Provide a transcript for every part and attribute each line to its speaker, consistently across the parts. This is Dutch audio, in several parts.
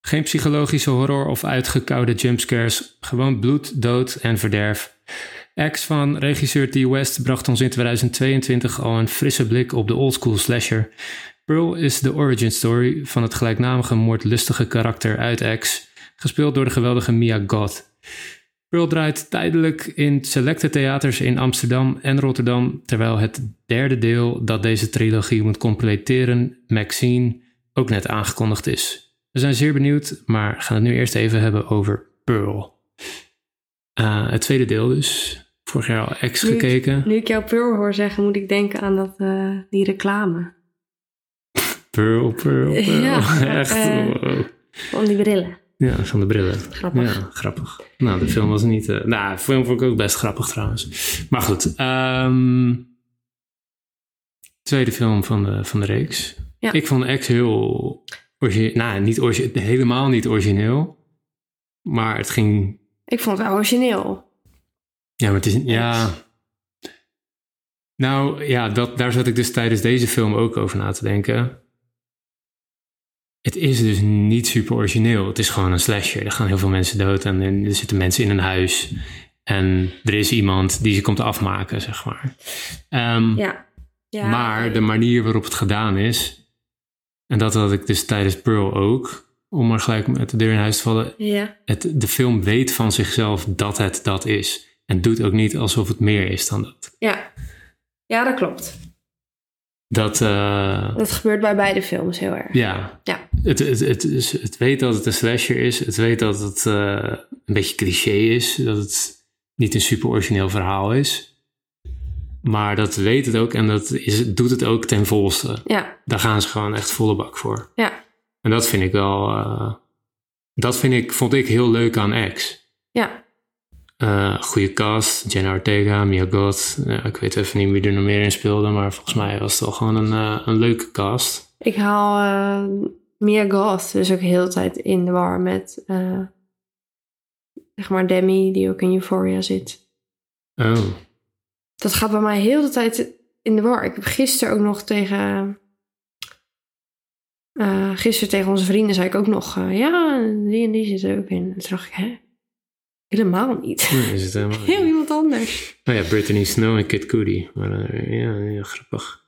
Speaker 1: Geen psychologische horror of uitgekoude jumpscares. Gewoon bloed, dood en verderf. Ex van regisseur T. West bracht ons in 2022 al een frisse blik op de oldschool slasher. Pearl is de origin story van het gelijknamige moordlustige karakter uit Ex, gespeeld door de geweldige Mia Goth. Pearl draait tijdelijk in selecte theaters in Amsterdam en Rotterdam, terwijl het derde deel dat deze trilogie moet completeren, Maxine, ook net aangekondigd is. We zijn zeer benieuwd, maar gaan het nu eerst even hebben over Pearl. Uh, het tweede deel dus. Vorig jaar al ex
Speaker 2: Nu ik-
Speaker 1: gekeken.
Speaker 2: Nu ik jou Pearl hoor zeggen, moet ik denken aan dat, eh, die reclame
Speaker 1: Pearl, Pearl, Pearl.
Speaker 2: Ja,
Speaker 1: Echt.
Speaker 2: eh.
Speaker 1: wow.
Speaker 2: van die brillen.
Speaker 1: Ja, van de brillen.
Speaker 2: Grappig.
Speaker 1: Ja, grappig. Nou, de film was niet... eh, nou, de film vond ik ook best grappig trouwens. Maar goed. ehm, tweede film van de, van de reeks.
Speaker 2: Ja.
Speaker 1: Ik vond X heel... Orgi- nou, niet orgi- helemaal niet origineel. Maar het ging...
Speaker 2: Ik vond het wel origineel.
Speaker 1: Ja, maar het is... Ja... Nou, ja, dat, daar zat ik dus tijdens deze film ook over na te denken. Het is dus niet super origineel. Het is gewoon een slasher. Er gaan heel veel mensen dood en in- er zitten mensen in een huis. En er is iemand die ze komt afmaken, zeg maar. Ehm,
Speaker 2: Ja. ja.
Speaker 1: Maar de manier waarop het gedaan is... En dat had ik dus tijdens Pearl ook. Om maar gelijk met de deur in huis te vallen.
Speaker 2: Ja.
Speaker 1: Het, de film weet van zichzelf dat het dat is. En doet ook niet alsof het meer is dan dat.
Speaker 2: Ja. ja, dat klopt.
Speaker 1: Dat... eh,
Speaker 2: Dat gebeurt bij beide films heel erg.
Speaker 1: Ja.
Speaker 2: Ja.
Speaker 1: Het, het, het, is- het weet dat het een slasher is. Het weet dat het eh, een beetje cliché is. Dat het niet een super origineel verhaal is. Maar dat weet het ook en dat is, doet het ook ten volste.
Speaker 2: Ja,
Speaker 1: Daar gaan ze gewoon echt volle bak voor.
Speaker 2: ja,
Speaker 1: En dat vind ik wel. eh, dat vind ik, vond ik heel leuk aan X.
Speaker 2: ja.
Speaker 1: Eh, goede cast, Jenna Ortega, Mia Goth. Ja, ik weet even niet wie er nog meer in speelde, maar volgens mij was het wel gewoon een, eh, een leuke cast.
Speaker 2: Ik haal eh, Mia Goth dus ook heel de tijd in de war met, eh, zeg maar, Demi, die ook in Euphoria zit.
Speaker 1: Oh,
Speaker 2: Dat gaat bij mij heel de tijd in de war. Ik heb gisteren ook nog tegen... eh, gisteren tegen onze vrienden zei ik ook nog... eh, ja, die en die zit er ook in. En toen dacht ik, hè? Helemaal niet.
Speaker 1: nee, is het helemaal. niet.
Speaker 2: Heel iemand anders.
Speaker 1: Nou ja, Brittany Snow en Kid Cudi. Maar eh, ja, ja, grappig.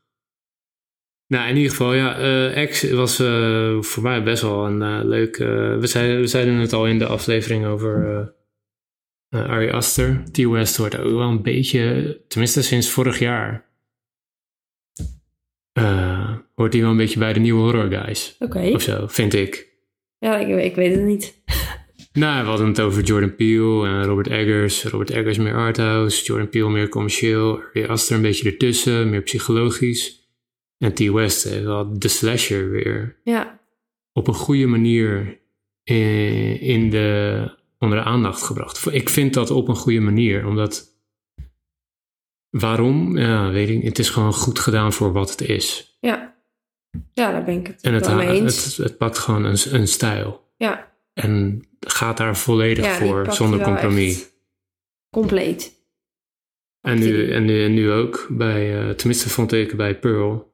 Speaker 1: Nou, in ieder geval, ja, eh X was eh, voor mij best wel een eh, leuk... eh, we, zeiden, we zeiden het al in de aflevering over eh, eh, Ari Aster. T. West wordt ook wel een beetje, tenminste sinds vorig jaar... eh, hoort hij wel een beetje bij de nieuwe horror guys.
Speaker 2: Oké.
Speaker 1: Of zo, vind ik.
Speaker 2: Ja, ik, ik weet het niet.
Speaker 1: Nou, we hadden het over Jordan Peele en Robert Eggers. Robert Eggers meer arthouse, Jordan Peele meer commercieel. Ari Aster een beetje ertussen, meer psychologisch. En T. West heeft wel de slasher weer
Speaker 2: Ja,
Speaker 1: op een goede manier in, in de, onder de aandacht gebracht. Ik vind dat op een goede manier, omdat... Waarom? Ja, weet ik niet. Het is gewoon goed gedaan voor wat het is.
Speaker 2: ja. Ja, daar ben ik het,
Speaker 1: En het,
Speaker 2: wel mee eens.
Speaker 1: het, het pakt gewoon een, een stijl.
Speaker 2: ja.
Speaker 1: En gaat daar volledig
Speaker 2: ja, die
Speaker 1: voor,
Speaker 2: pakt
Speaker 1: zonder
Speaker 2: wel echt
Speaker 1: compromis.
Speaker 2: Compleet.
Speaker 1: En nu, en, nu, en nu ook, bij, eh, tenminste vond ik bij Pearl.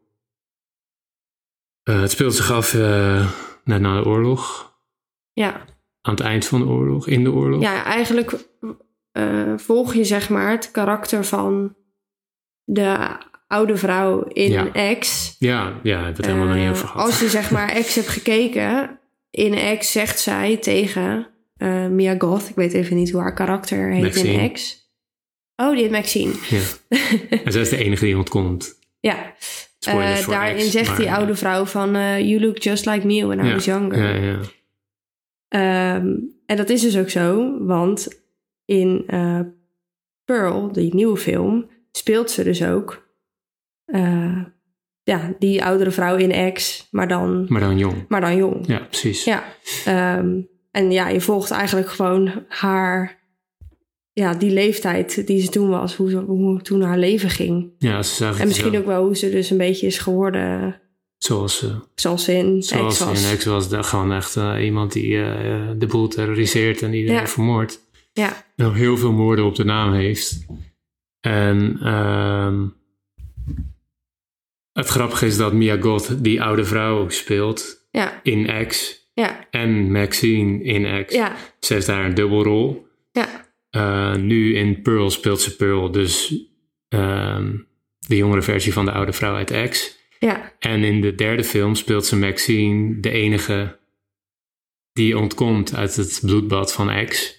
Speaker 1: Eh, het speelt zich af eh, net na de oorlog,
Speaker 2: Ja,
Speaker 1: aan het eind van de oorlog, in de oorlog.
Speaker 2: ja eigenlijk eh, volg je zeg maar het karakter van de oude vrouw in
Speaker 1: Ja.
Speaker 2: Ex.
Speaker 1: ja, ja, ik heb het helemaal nog niet
Speaker 2: Eh,
Speaker 1: over gehad.
Speaker 2: Als je zeg maar Ex hebt gekeken, in Ex zegt zij tegen eh, Mia Goth, ik weet even niet hoe haar karakter heet in
Speaker 1: Maxine.
Speaker 2: Ex. Oh, die heet Maxine.
Speaker 1: Ja. En zij is de enige die ontkomt.
Speaker 2: Ja,
Speaker 1: Spoilers
Speaker 2: Eh,
Speaker 1: voor
Speaker 2: daarin
Speaker 1: X,
Speaker 2: zegt
Speaker 1: maar-
Speaker 2: die oude vrouw van eh, You look just like me when I
Speaker 1: Ja,
Speaker 2: was younger.
Speaker 1: Ja, ja.
Speaker 2: Ehm, en dat is dus ook zo, want in eh, Pearl, die nieuwe film, speelt ze dus ook eh, ja, die oudere vrouw in ex, maar dan,
Speaker 1: Maar dan jong.
Speaker 2: maar dan jong.
Speaker 1: Ja, precies.
Speaker 2: Ja. ehm, en ja, je volgt eigenlijk gewoon haar, ja, die leeftijd die ze toen was, hoe, ze, hoe toen haar leven ging.
Speaker 1: Ja, ze zagen
Speaker 2: En
Speaker 1: het
Speaker 2: misschien
Speaker 1: zo.
Speaker 2: ook wel hoe ze dus een beetje is geworden
Speaker 1: Zoals, eh,
Speaker 2: zoals ze in
Speaker 1: zoals
Speaker 2: ex was.
Speaker 1: in X was, daar gewoon echt eh, iemand die eh, de boel terroriseert en iedereen
Speaker 2: Ja.
Speaker 1: vermoordt.
Speaker 2: Ja,
Speaker 1: nog heel veel moorden op de naam heeft. En ehm, het grappige is dat Mia Goth die oude vrouw speelt
Speaker 2: ja,
Speaker 1: in X.
Speaker 2: Ja,
Speaker 1: En Maxine in X.
Speaker 2: ja,
Speaker 1: Ze heeft daar een dubbelrol.
Speaker 2: ja,
Speaker 1: Eh, nu in Pearl speelt ze Pearl, dus ehm, de jongere versie van de oude vrouw uit X.
Speaker 2: ja,
Speaker 1: En in de derde film speelt ze Maxine, de enige die ontkomt uit het bloedbad van X.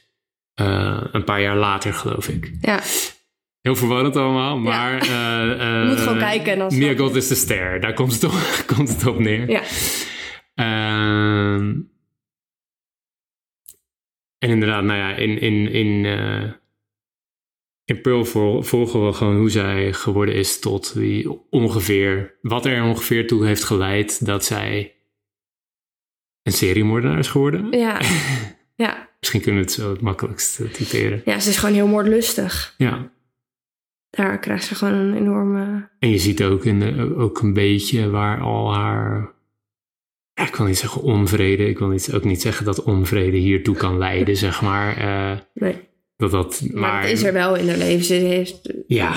Speaker 1: Eh, een paar jaar later, geloof ik.
Speaker 2: ja.
Speaker 1: Heel verwarrend allemaal, maar... eh, eh,
Speaker 2: Moet gewoon kijken en dan snap
Speaker 1: Mia
Speaker 2: je
Speaker 1: God is de ster, daar komt het op, komt het op neer.
Speaker 2: Ja.
Speaker 1: Ehm, en inderdaad, nou ja, in, in, in, eh, in Pearl vol- volgen we gewoon hoe zij geworden is tot wie ongeveer, wat er ongeveer toe heeft geleid dat zij een seriemoordenaar is geworden.
Speaker 2: Ja. ja.
Speaker 1: Misschien kunnen we het zo het makkelijkst eh, typeren.
Speaker 2: Ja, ze is gewoon heel moordlustig.
Speaker 1: Ja.
Speaker 2: Daar krijgt ze gewoon een enorme...
Speaker 1: En je ziet ook, in de- ook een beetje waar al haar. Ja, ik wil niet zeggen onvrede. Ik wil niet, ook niet zeggen dat onvrede hiertoe kan leiden, zeg maar. Eh,
Speaker 2: Nee,
Speaker 1: dat dat, maar,
Speaker 2: maar, het is er wel in haar leven. Ze heeft, ze
Speaker 1: Ja,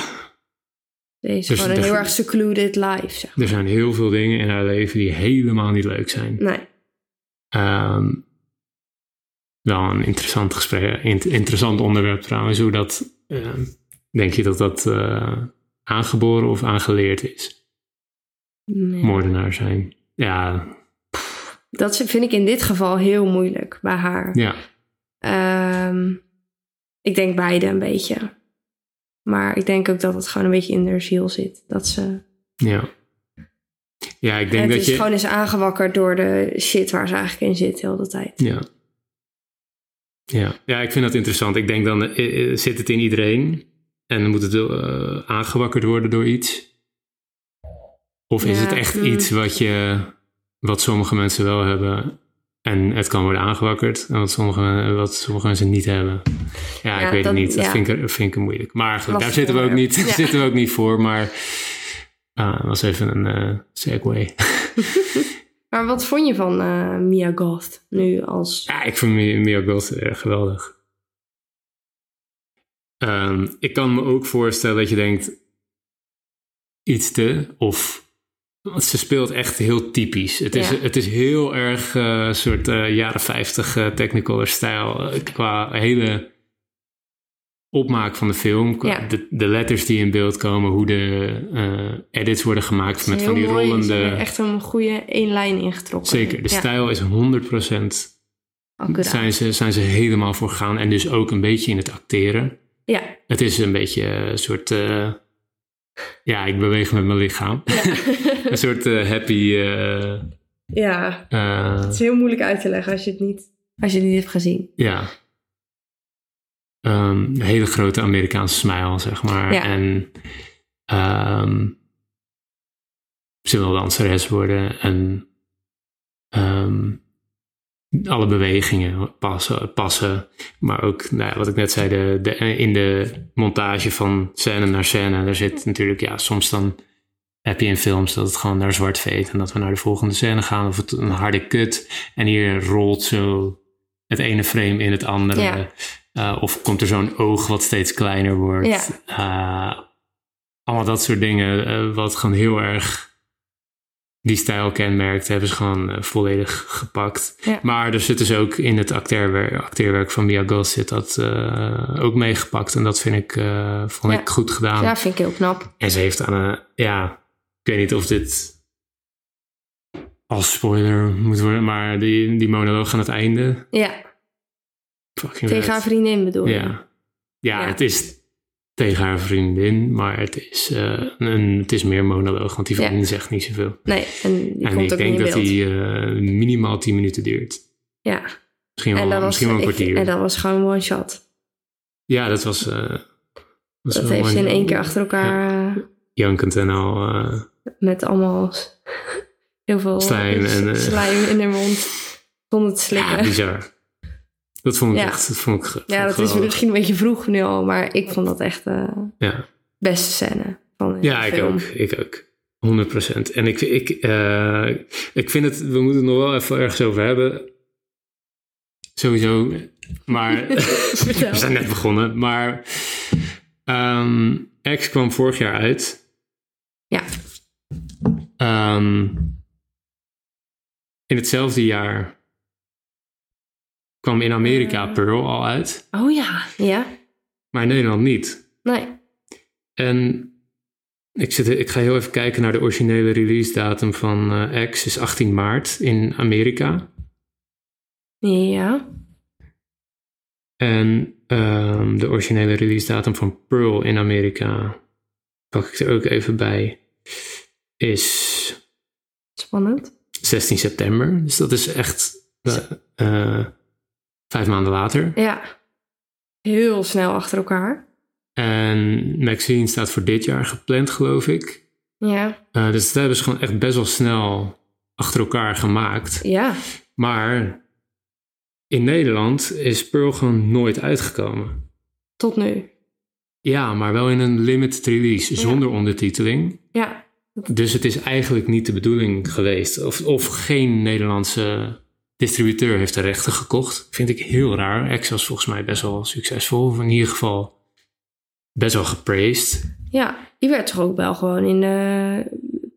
Speaker 2: heeft
Speaker 1: Dus
Speaker 2: gewoon een
Speaker 1: de-
Speaker 2: heel erg secluded life, zeg
Speaker 1: er zijn heel veel dingen in haar leven die helemaal niet leuk zijn.
Speaker 2: maar. Nee,
Speaker 1: Ehm, wel een interessant gesprek, int- interessant onderwerp trouwens. Hoe dat, ehm, denk je dat dat eh, aangeboren of aangeleerd is?
Speaker 2: nee.
Speaker 1: Moordenaar zijn. Ja,
Speaker 2: Dat vind ik in dit geval heel moeilijk bij haar.
Speaker 1: ja.
Speaker 2: Ehm, ik denk beide een beetje. Maar ik denk ook dat het gewoon een beetje in haar ziel zit. Dat ze...
Speaker 1: Ja. Ja, ik denk
Speaker 2: het
Speaker 1: dat
Speaker 2: is
Speaker 1: je.
Speaker 2: gewoon eens aangewakkerd door de shit waar ze eigenlijk in zit heel de tijd.
Speaker 1: Ja. Ja. ja, ik vind dat interessant. Ik denk dan eh, eh, zit het in iedereen en dan moet het eh, aangewakkerd worden door iets. Of is
Speaker 2: Ja,
Speaker 1: het echt
Speaker 2: mm.
Speaker 1: iets wat je, wat sommige mensen wel hebben en het kan worden aangewakkerd en wat sommige, wat sommige mensen niet hebben. Ja,
Speaker 2: Ja,
Speaker 1: ik weet
Speaker 2: dat-
Speaker 1: het niet. Dat
Speaker 2: ja.
Speaker 1: vind, ik, er- vind ik er moeilijk. Maar goed, daar
Speaker 2: Lastig
Speaker 1: zitten we ook
Speaker 2: onderwerp.
Speaker 1: niet,
Speaker 2: Ja.
Speaker 1: zitten we ook niet voor. Maar ah, was even een eh segue.
Speaker 2: Maar wat vond je van eh, Mia Goth nu als...
Speaker 1: Ja, ik vind Mia Mia Goth erg geweldig. Ehm, ik kan me ook voorstellen dat je denkt iets te of want ze speelt echt heel typisch. Het is,
Speaker 2: Ja.
Speaker 1: het is heel erg eh soort eh, jaren 50 eh, Technicolor stijl eh, qua hele opmaak van de film, qua
Speaker 2: Ja.
Speaker 1: de, de letters die in beeld komen, hoe de eh, edits worden gemaakt met van die
Speaker 2: Heel mooi, ze
Speaker 1: rollende.
Speaker 2: hebben Echt een goede één lijn ingetrokken.
Speaker 1: Zeker, de
Speaker 2: Ja,
Speaker 1: stijl is 100%
Speaker 2: accuraat.
Speaker 1: zijn ze, zijn ze helemaal voor gegaan. En dus ook een beetje in het acteren.
Speaker 2: Ja,
Speaker 1: Het is een beetje eh, een soort. eh, ja, ik beweeg met mijn lichaam. een soort eh, happy. eh,
Speaker 2: ja,
Speaker 1: eh,
Speaker 2: Het is heel moeilijk uit te leggen als je het niet, als je het niet hebt gezien.
Speaker 1: ja. Ehm, een hele grote Amerikaanse smile, zeg maar.
Speaker 2: Ja.
Speaker 1: En. ehm, ze wil danseres worden. En. ehm, alle bewegingen passen, passen. Maar ook, nou ja, wat ik net zei, de, de, in de montage van scène naar scène. Daar zit natuurlijk, ja, soms dan heb je in films dat het gewoon naar zwart veet. En dat we naar de volgende scène gaan. Of het een harde kut. En hier rolt zo het ene frame in het andere.
Speaker 2: Ja.
Speaker 1: Eh, of komt er zo'n oog wat steeds kleiner wordt.
Speaker 2: Ja.
Speaker 1: Eh, allemaal dat soort dingen. eh, wat gewoon heel erg die stijl kenmerkt. Hebben ze gewoon eh, volledig gepakt.
Speaker 2: Ja.
Speaker 1: Maar er zit dus ook in het acteerwerk, acteerwerk van Mia Goth zit dat eh, ook meegepakt. En dat vind ik, eh, vond
Speaker 2: Ja.
Speaker 1: ik goed gedaan.
Speaker 2: ja, vind ik heel knap.
Speaker 1: En ze heeft aan een, ja, ik weet niet of dit als spoiler moet worden, maar die, die monoloog aan het einde.
Speaker 2: Ja,
Speaker 1: Fucking
Speaker 2: tegen haar
Speaker 1: vet.
Speaker 2: vriendin bedoel je?
Speaker 1: Ja. Ja,
Speaker 2: Ja.
Speaker 1: het is tegen haar vriendin, maar het is, eh, een, het is meer monoloog, want die
Speaker 2: Ja.
Speaker 1: vriendin zegt niet zoveel.
Speaker 2: Nee, en die
Speaker 1: en ik
Speaker 2: komt ook niet
Speaker 1: denk
Speaker 2: in
Speaker 1: dat
Speaker 2: beeld.
Speaker 1: die eh, minimaal 10 minuten duurt.
Speaker 2: Ja,
Speaker 1: Misschien
Speaker 2: en
Speaker 1: wel,
Speaker 2: dat, was,
Speaker 1: misschien wel een
Speaker 2: ik-
Speaker 1: kwartier.
Speaker 2: en dat was gewoon one shot.
Speaker 1: Ja, dat was. eh, dat was
Speaker 2: Dat
Speaker 1: wel
Speaker 2: heeft ze in
Speaker 1: mooi.
Speaker 2: één keer achter elkaar eh,
Speaker 1: Jankend en al. eh,
Speaker 2: met allemaal s- heel veel
Speaker 1: Slijm en, eh,
Speaker 2: slijm in haar mond zonder
Speaker 1: ja,
Speaker 2: te slikken.
Speaker 1: bizar. Dat vond ik
Speaker 2: Ja.
Speaker 1: echt. Dat vond ik, ge- vond
Speaker 2: Ja,
Speaker 1: ik
Speaker 2: dat is
Speaker 1: geweldig.
Speaker 2: misschien een beetje vroeg nu al, maar ik vond dat echt de
Speaker 1: Ja,
Speaker 2: beste scène van de
Speaker 1: ja ik
Speaker 2: film.
Speaker 1: ook. Ik ook. 100%. En ik, ik, eh, ik vind het. We moeten het nog wel even ergens over hebben. Sowieso. Maar.
Speaker 2: Vertel.
Speaker 1: We zijn net begonnen. Maar. ehm, X kwam vorig jaar uit.
Speaker 2: Ja,
Speaker 1: Ehm, in hetzelfde jaar kwam in Amerika Pearl al uit,
Speaker 3: Oh ja.
Speaker 2: Ja?
Speaker 1: maar in Nederland niet.
Speaker 2: Nee.
Speaker 1: En ik, zit, ik ga heel even kijken naar de originele release datum van eh, X, is 18 maart in Amerika.
Speaker 2: Ja.
Speaker 1: En ehm, de originele release datum van Pearl in Amerika, pak ik er ook even bij, is
Speaker 2: Spannend.
Speaker 1: 16 september. Dus dat is echt eh, eh, vijf maanden later.
Speaker 2: Ja. Heel snel achter elkaar.
Speaker 1: En Maxine staat voor dit jaar gepland, geloof ik.
Speaker 2: Ja.
Speaker 1: Eh, dus dat hebben ze gewoon echt best wel snel achter elkaar gemaakt.
Speaker 2: Ja.
Speaker 1: Maar in Nederland is Pearl gewoon nooit uitgekomen.
Speaker 2: Tot nu.
Speaker 1: Ja, maar wel in een limited release zonder ondertiteling.
Speaker 2: Ja.
Speaker 1: Dus het is eigenlijk niet de bedoeling geweest. Of, of geen Nederlandse distributeur heeft de rechten gekocht. Vind ik heel raar. X was volgens mij best wel succesvol. Of in ieder geval best wel gepraised.
Speaker 2: Ja. Die werd toch ook wel gewoon in eh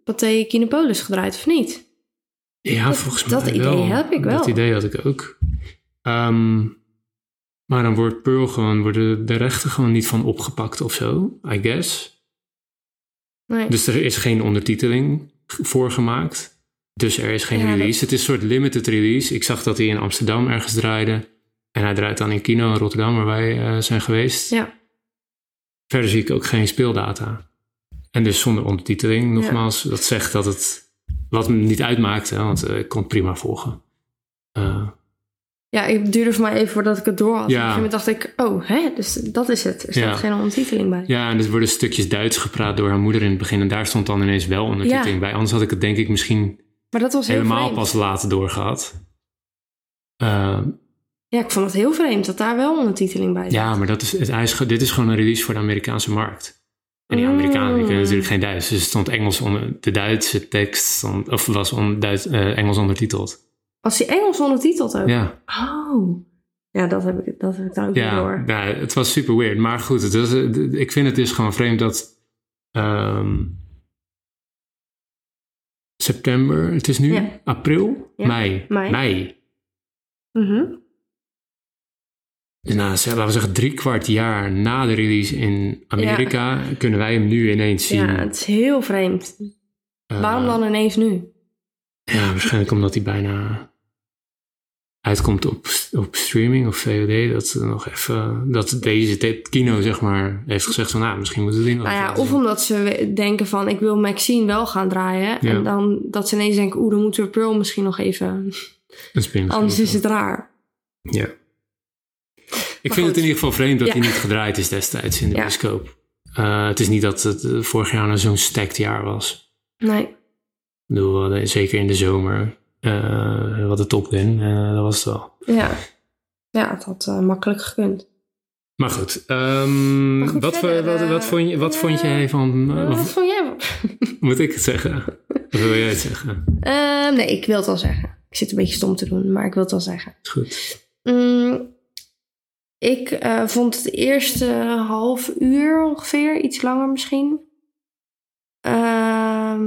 Speaker 2: Pathé Kinepolis gedraaid, of niet?
Speaker 1: Ja,
Speaker 2: Dat-
Speaker 1: volgens mij
Speaker 2: dat idee
Speaker 1: wel.
Speaker 2: heb ik wel.
Speaker 1: Dat idee had ik ook. Ehm, maar dan wordt Pearl gewoon, worden de rechten gewoon niet van opgepakt of zo, I guess.
Speaker 2: Nee.
Speaker 1: Dus er is geen ondertiteling g- voor gemaakt. Dus er is geen
Speaker 2: Ja, dat-
Speaker 1: release. Het is een soort limited release. Ik zag dat hij in Amsterdam ergens draaide. En hij draait dan in Kino in Rotterdam, waar wij eh, zijn geweest.
Speaker 2: Ja.
Speaker 1: Verder zie ik ook geen speeldata. En dus zonder ondertiteling, nogmaals, dat zegt dat het. Wat me niet uitmaakte, hè, want eh, ik kon het prima volgen. Eh,
Speaker 2: Ja, het duurde voor mij even voordat ik het door had.
Speaker 1: Ja.
Speaker 2: Op een gegeven moment dacht ik, oh, hè, dus dat is het. Er staat
Speaker 1: Ja.
Speaker 2: geen ondertiteling bij.
Speaker 1: ja, en er worden stukjes Duits gepraat door haar moeder in het begin. En daar stond dan ineens wel ondertiteling bij. Anders had ik het denk ik misschien
Speaker 2: Maar dat was heel
Speaker 1: helemaal
Speaker 2: vreemd.
Speaker 1: pas later doorgehad. Eh,
Speaker 2: Ja, ik vond het heel vreemd dat daar wel ondertiteling bij zat.
Speaker 1: ja, maar dat is, het, hij is, ge- dit is gewoon een release voor de Amerikaanse markt. En die Amerikanen die kunnen
Speaker 2: Mm.
Speaker 1: natuurlijk geen Duits. Dus er stond Engels onder. De Duitse tekst stond, of was on, Duits, eh, Engels ondertiteld.
Speaker 2: Als die Engels ondertiteld ook.
Speaker 1: Ja.
Speaker 2: Oh. Ja, dat heb ik, dat heb ik dan ook niet
Speaker 1: Ja,
Speaker 2: door.
Speaker 1: ja, het was super weird. Maar goed, het was, eh, d- ik vind het dus gewoon vreemd dat ehm, september, het is nu
Speaker 2: Ja.
Speaker 1: april,
Speaker 2: Ja,
Speaker 1: mei,
Speaker 2: mei. Mhm.
Speaker 1: Dus nou, zeg- laten we zeggen drie kwart jaar na de release in Amerika kunnen wij hem nu ineens zien.
Speaker 2: Ja, het is heel vreemd.
Speaker 1: Eh,
Speaker 2: Waarom dan ineens nu?
Speaker 1: Ja, waarschijnlijk omdat hij bijna uitkomt op, op streaming of VOD. Dat ze nog even, dat deze te- kino zeg maar heeft gezegd van, nou, misschien moeten we die nog
Speaker 2: Nou
Speaker 1: even
Speaker 2: ja,
Speaker 1: laten
Speaker 2: of
Speaker 1: zien.
Speaker 2: omdat ze we- denken van ik wil Maxine wel gaan draaien.
Speaker 1: Ja.
Speaker 2: En dan dat ze ineens denken, oeh, dan moeten we Pearl misschien nog even.
Speaker 1: Een spin-
Speaker 2: Anders is het raar.
Speaker 1: Ja. Ik
Speaker 2: Maar
Speaker 1: vind het
Speaker 2: goed.
Speaker 1: in ieder geval vreemd dat
Speaker 2: Ja.
Speaker 1: hij niet gedraaid is destijds in de
Speaker 2: Ja.
Speaker 1: bioscoop. Eh, het is niet dat het eh, vorig jaar nou zo'n stacked jaar was.
Speaker 2: Nee.
Speaker 1: Ik bedoel, we hadden zeker in de zomer. eh wat de top in, eh, dat was het wel.
Speaker 2: Ja. Ja, het had eh, makkelijk gekund.
Speaker 1: Maar goed, ehm,
Speaker 2: Maar goed,
Speaker 1: wat,
Speaker 2: verder,
Speaker 1: vo- wat, wat
Speaker 2: eh,
Speaker 1: vond je, wat
Speaker 2: eh,
Speaker 1: vond jij van... eh,
Speaker 2: Wat
Speaker 1: of
Speaker 2: vond jij?
Speaker 1: moet ik het zeggen? Of wil jij het zeggen?
Speaker 2: Ehm, nee, ik wil het wel zeggen. Ik zit een beetje stom te doen, maar ik wil het wel zeggen.
Speaker 1: Is goed.
Speaker 2: Mm, ik eh, vond het eerste half uur ongeveer, iets langer misschien. Ehm,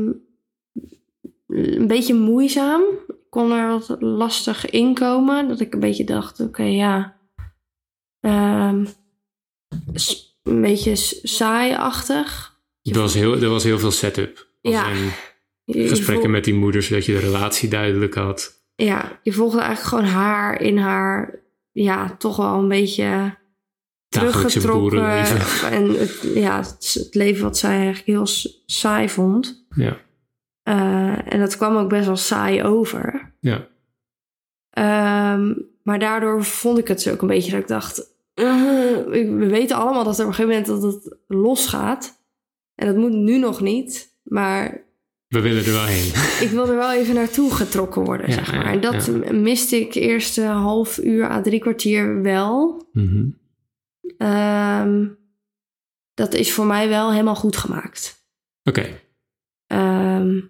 Speaker 2: een beetje moeizaam. Ik kon er wat lastig inkomen. Dat ik een beetje dacht, oké ja. Ehm, s- een beetje s- saai-achtig.
Speaker 1: Er was heel, er was heel veel setup. Als
Speaker 2: Ja.
Speaker 1: in
Speaker 2: Je- je
Speaker 1: gesprekken
Speaker 2: voel-
Speaker 1: met die moeder, zodat je de relatie duidelijk had.
Speaker 2: Ja, je volgde eigenlijk gewoon haar in haar... Ja, toch wel een beetje...
Speaker 1: Dagelijkse
Speaker 2: teruggetrokken.
Speaker 1: boerenleven.
Speaker 2: En het, ja, het, is het leven wat zij eigenlijk heel s- saai vond.
Speaker 1: Ja.
Speaker 2: Eh, en dat kwam ook best wel saai over.
Speaker 1: Ja.
Speaker 2: Ehm, maar daardoor vond ik het zo ook een beetje dat ik dacht... eh, ik- we weten allemaal dat er op een gegeven moment dat het losgaat. En dat moet nu nog niet. Maar
Speaker 1: We willen er wel heen.
Speaker 2: ik wil er wel even naartoe getrokken worden,
Speaker 1: Ja,
Speaker 2: zeg
Speaker 1: ja,
Speaker 2: maar. En dat
Speaker 1: ja.
Speaker 2: miste ik eerste half uur à drie kwartier wel.
Speaker 1: Mhm.
Speaker 2: Ehm, dat is voor mij wel helemaal goed gemaakt.
Speaker 1: Oké,
Speaker 2: Ehm,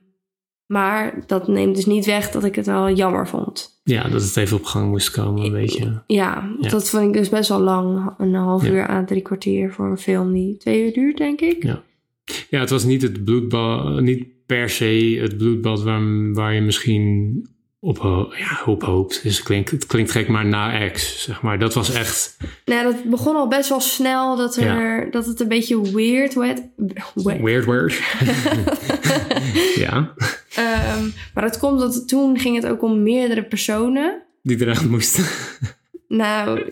Speaker 2: maar dat neemt dus niet weg dat ik het wel jammer vond.
Speaker 1: ja, dat het even op gang moest komen, een beetje.
Speaker 2: Ja,
Speaker 1: Ja.
Speaker 2: dat vond ik dus best wel lang. Een half
Speaker 1: Ja.
Speaker 2: uur aan drie kwartier voor een film die twee uur duurt, denk ik.
Speaker 1: Ja. Ja, het was niet het bloedbad, niet per se het bloedbad waar, waar je misschien op, ho- ja, op hoopt. Dus het klinkt, het klinkt gek, maar na X, zeg maar. Dat was echt...
Speaker 2: Nou, dat begon al best wel snel dat, er, dat het een beetje weird werd. werd.
Speaker 1: Weird word. ja,
Speaker 2: Ehm, maar dat komt dat toen ging het ook om meerdere personen.
Speaker 1: die eraan moesten.
Speaker 2: Nou,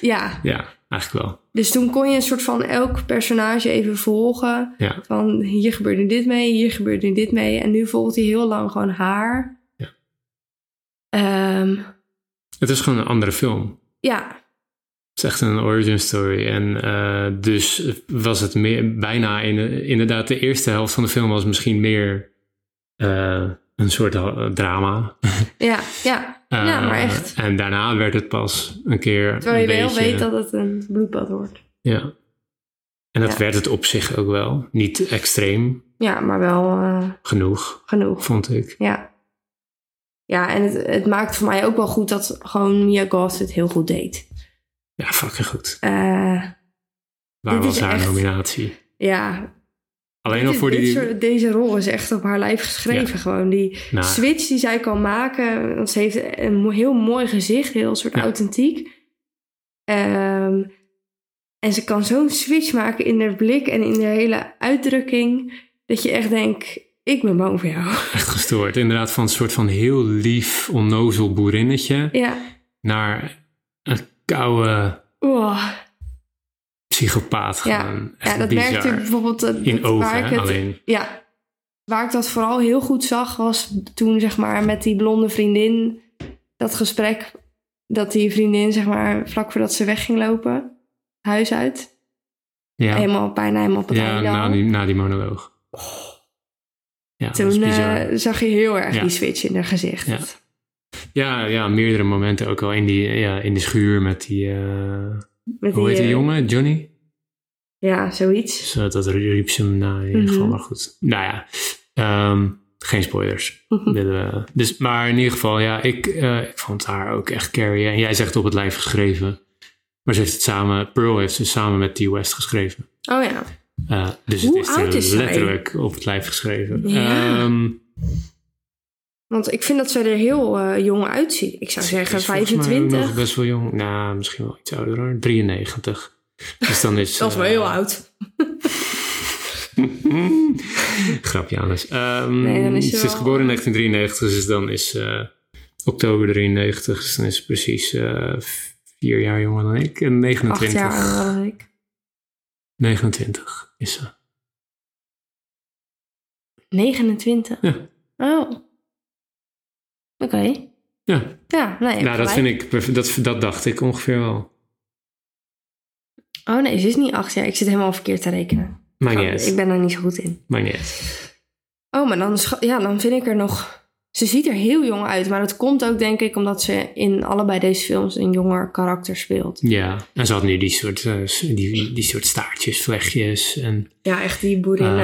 Speaker 2: ja.
Speaker 1: ja, eigenlijk wel.
Speaker 2: Dus toen kon je een soort van elk personage even volgen.
Speaker 1: Ja.
Speaker 2: Van hier gebeurt nu dit mee, hier gebeurt nu dit mee. En nu volgt hij heel lang gewoon haar.
Speaker 1: Ja.
Speaker 2: Ehm,
Speaker 1: Het is gewoon een andere film.
Speaker 2: ja.
Speaker 1: Het is echt een origin story. En eh, dus was het meer, bijna in, inderdaad de eerste helft van de film was misschien meer eh, een soort ha- drama.
Speaker 2: Ja, ja. Ja,
Speaker 1: Eh,
Speaker 2: maar echt.
Speaker 1: En daarna werd het pas een keer
Speaker 2: Terwijl je
Speaker 1: een
Speaker 2: wel
Speaker 1: beetje-
Speaker 2: weet dat het een bloedbad wordt.
Speaker 1: Ja. En dat
Speaker 2: Ja.
Speaker 1: werd het op zich ook wel. Niet extreem
Speaker 2: Ja, maar wel eh,
Speaker 1: genoeg,
Speaker 2: genoeg.
Speaker 1: vond ik.
Speaker 2: Ja. Ja, en het, het maakt voor mij ook wel goed dat gewoon Mia Goth het heel goed deed.
Speaker 1: Ja, fucking goed.
Speaker 2: Eh,
Speaker 1: Waar
Speaker 2: Dit
Speaker 1: was
Speaker 2: is
Speaker 1: haar
Speaker 2: echt-
Speaker 1: nominatie?
Speaker 2: ja,
Speaker 1: Alleen al
Speaker 2: Dit-
Speaker 1: voor
Speaker 2: dit
Speaker 1: die...
Speaker 2: soort- deze rol is echt op haar lijf geschreven. Gewoon die
Speaker 1: Nou,
Speaker 2: switch die zij kan maken. Want ze heeft een mo- heel mooi gezicht, heel soort
Speaker 1: Ja.
Speaker 2: authentiek. Ehm, en ze kan zo'n switch maken in haar blik en in haar hele uitdrukking. Dat je echt denkt, ik ben bang voor jou.
Speaker 1: echt gestoord. Inderdaad, van een soort van heel lief, onnozel boerinnetje...
Speaker 2: ja,
Speaker 1: naar een koude
Speaker 2: wow.
Speaker 1: psychopaat
Speaker 2: Ja.
Speaker 1: gaan. Echt
Speaker 2: ja dat
Speaker 1: bizar.
Speaker 2: merkte ik bijvoorbeeld. Dat,
Speaker 1: In
Speaker 2: dat-
Speaker 1: ogen,
Speaker 2: waar ik
Speaker 1: hè,
Speaker 2: het-
Speaker 1: alleen.
Speaker 2: Ja. Waar ik dat vooral heel goed zag was toen, zeg maar, met die blonde vriendin. Dat gesprek dat die vriendin, zeg maar, vlak voordat ze weg ging lopen, het huis uit.
Speaker 1: Ja,
Speaker 2: Helemaal bijna helemaal op het
Speaker 1: ja
Speaker 2: einde al.
Speaker 1: na, die, na die monoloog. Ja, dat is
Speaker 2: Oh. Toen
Speaker 1: bizar.
Speaker 2: eh, zag je heel erg
Speaker 1: Ja.
Speaker 2: die switch in haar gezicht.
Speaker 1: Ja. ja, ja, meerdere momenten ook al in, die, ja, in de schuur met die... eh,
Speaker 2: Met
Speaker 1: hoe heet die
Speaker 2: eh,
Speaker 1: jongen? Johnny?
Speaker 2: Ja, zoiets.
Speaker 1: Dus, eh, dat riep ze hem na in ieder geval.
Speaker 2: Mhm.
Speaker 1: Maar goed, nou ja. ehm, geen spoilers.
Speaker 2: Hm.
Speaker 1: Willen we- dus, maar in ieder geval, ja, ik, eh, ik vond haar ook echt Carrie. En jij zegt op het lijf geschreven. Maar ze heeft het samen, Pearl heeft ze samen met T. West geschreven.
Speaker 2: Oh ja.
Speaker 1: Eh, dus
Speaker 2: Hoe
Speaker 1: het is,
Speaker 2: oud
Speaker 1: er
Speaker 2: is zij?
Speaker 1: letterlijk op het lijf geschreven.
Speaker 2: Ja.
Speaker 1: Ehm,
Speaker 2: Want ik vind dat ze er heel eh, jong uitziet. Ik zou
Speaker 1: ze
Speaker 2: zeggen
Speaker 1: is volgens mij ook
Speaker 2: 25.
Speaker 1: nog best wel jong. Nou, misschien wel iets ouder hoor. 93. Dus dan is...
Speaker 2: Dat is wel
Speaker 1: eh,
Speaker 2: heel oud.
Speaker 1: Grapje, Anders. Ehm,
Speaker 2: Nee, dan is ze
Speaker 1: ze is
Speaker 2: wel-
Speaker 1: geboren in 1993, dus dan is eh, oktober 93. Dus dan is ze precies eh, vier jaar jonger dan ik. En
Speaker 2: Acht
Speaker 1: 29.
Speaker 2: jaar ouder dan ik.
Speaker 1: 29 is ze.
Speaker 2: 29?
Speaker 1: Ja.
Speaker 2: Oh. Oké.
Speaker 1: Ja,
Speaker 2: Ja, nee.
Speaker 1: nou, dat, vind ik, perf- dat, dat dacht ik ongeveer wel.
Speaker 2: Oh nee, ze is niet acht jaar. Ik zit helemaal verkeerd te rekenen.
Speaker 1: Maakt niet
Speaker 2: Oh,
Speaker 1: uit.
Speaker 2: ik ben er niet zo goed in.
Speaker 1: Maakt niet uit.
Speaker 2: Oh, maar dan, scha- ja, dan vind ik er nog... Ze ziet er heel jong uit. Maar dat komt ook denk ik omdat ze in allebei deze films een jonger karakter speelt.
Speaker 1: Ja, en ze had nu die soort, eh, s- die, die soort staartjes, vlechtjes en
Speaker 2: Ja, echt die
Speaker 1: eh
Speaker 2: boerin.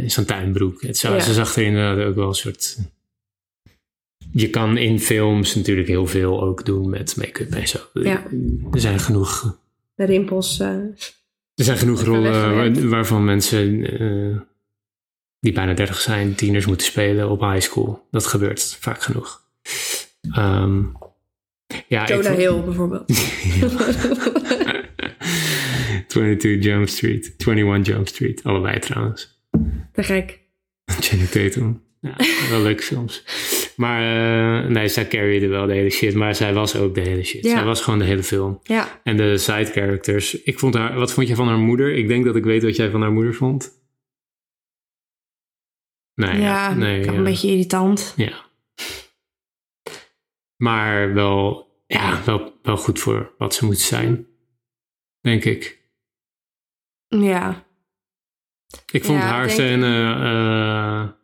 Speaker 1: in zo'n tuinbroek. Het, zou-
Speaker 2: Ja.
Speaker 1: Ze zag er inderdaad ook wel een soort... Je kan in films natuurlijk heel veel ook doen met make-up en zo.
Speaker 2: Ja.
Speaker 1: Er zijn genoeg,
Speaker 2: de rimpels. eh,
Speaker 1: Ah, er zijn genoeg
Speaker 2: Even
Speaker 1: rollen
Speaker 2: weggewerkt.
Speaker 1: waar- waarvan mensen eh, die bijna 30 zijn, tieners moeten spelen op high school. Dat gebeurt vaak genoeg. Ehm, ja, ik
Speaker 2: Jonah
Speaker 1: vond-
Speaker 2: Hill bijvoorbeeld.
Speaker 1: 22 Jump Street. 21 Jump Street. Allebei trouwens.
Speaker 2: Te gek.
Speaker 1: Channing Tatum. Ja, wel leuke films. Maar eh, nee, zij carryde wel de hele shit. Maar zij was ook de hele shit.
Speaker 2: Ja.
Speaker 1: Zij was gewoon de hele film.
Speaker 2: Ja.
Speaker 1: En de side characters. Ik vond haar, wat vond jij van haar moeder? Ik denk dat ik weet wat jij van haar moeder vond. Nee,
Speaker 2: ja,
Speaker 1: nee,
Speaker 2: ook
Speaker 1: Nou ja.
Speaker 2: een beetje irritant.
Speaker 1: Ja. Maar wel, ja, wel, wel goed voor wat ze moet zijn. Denk ik.
Speaker 2: Ja.
Speaker 1: Ik vond
Speaker 2: Ja,
Speaker 1: haar
Speaker 2: denk-
Speaker 1: scène. eh,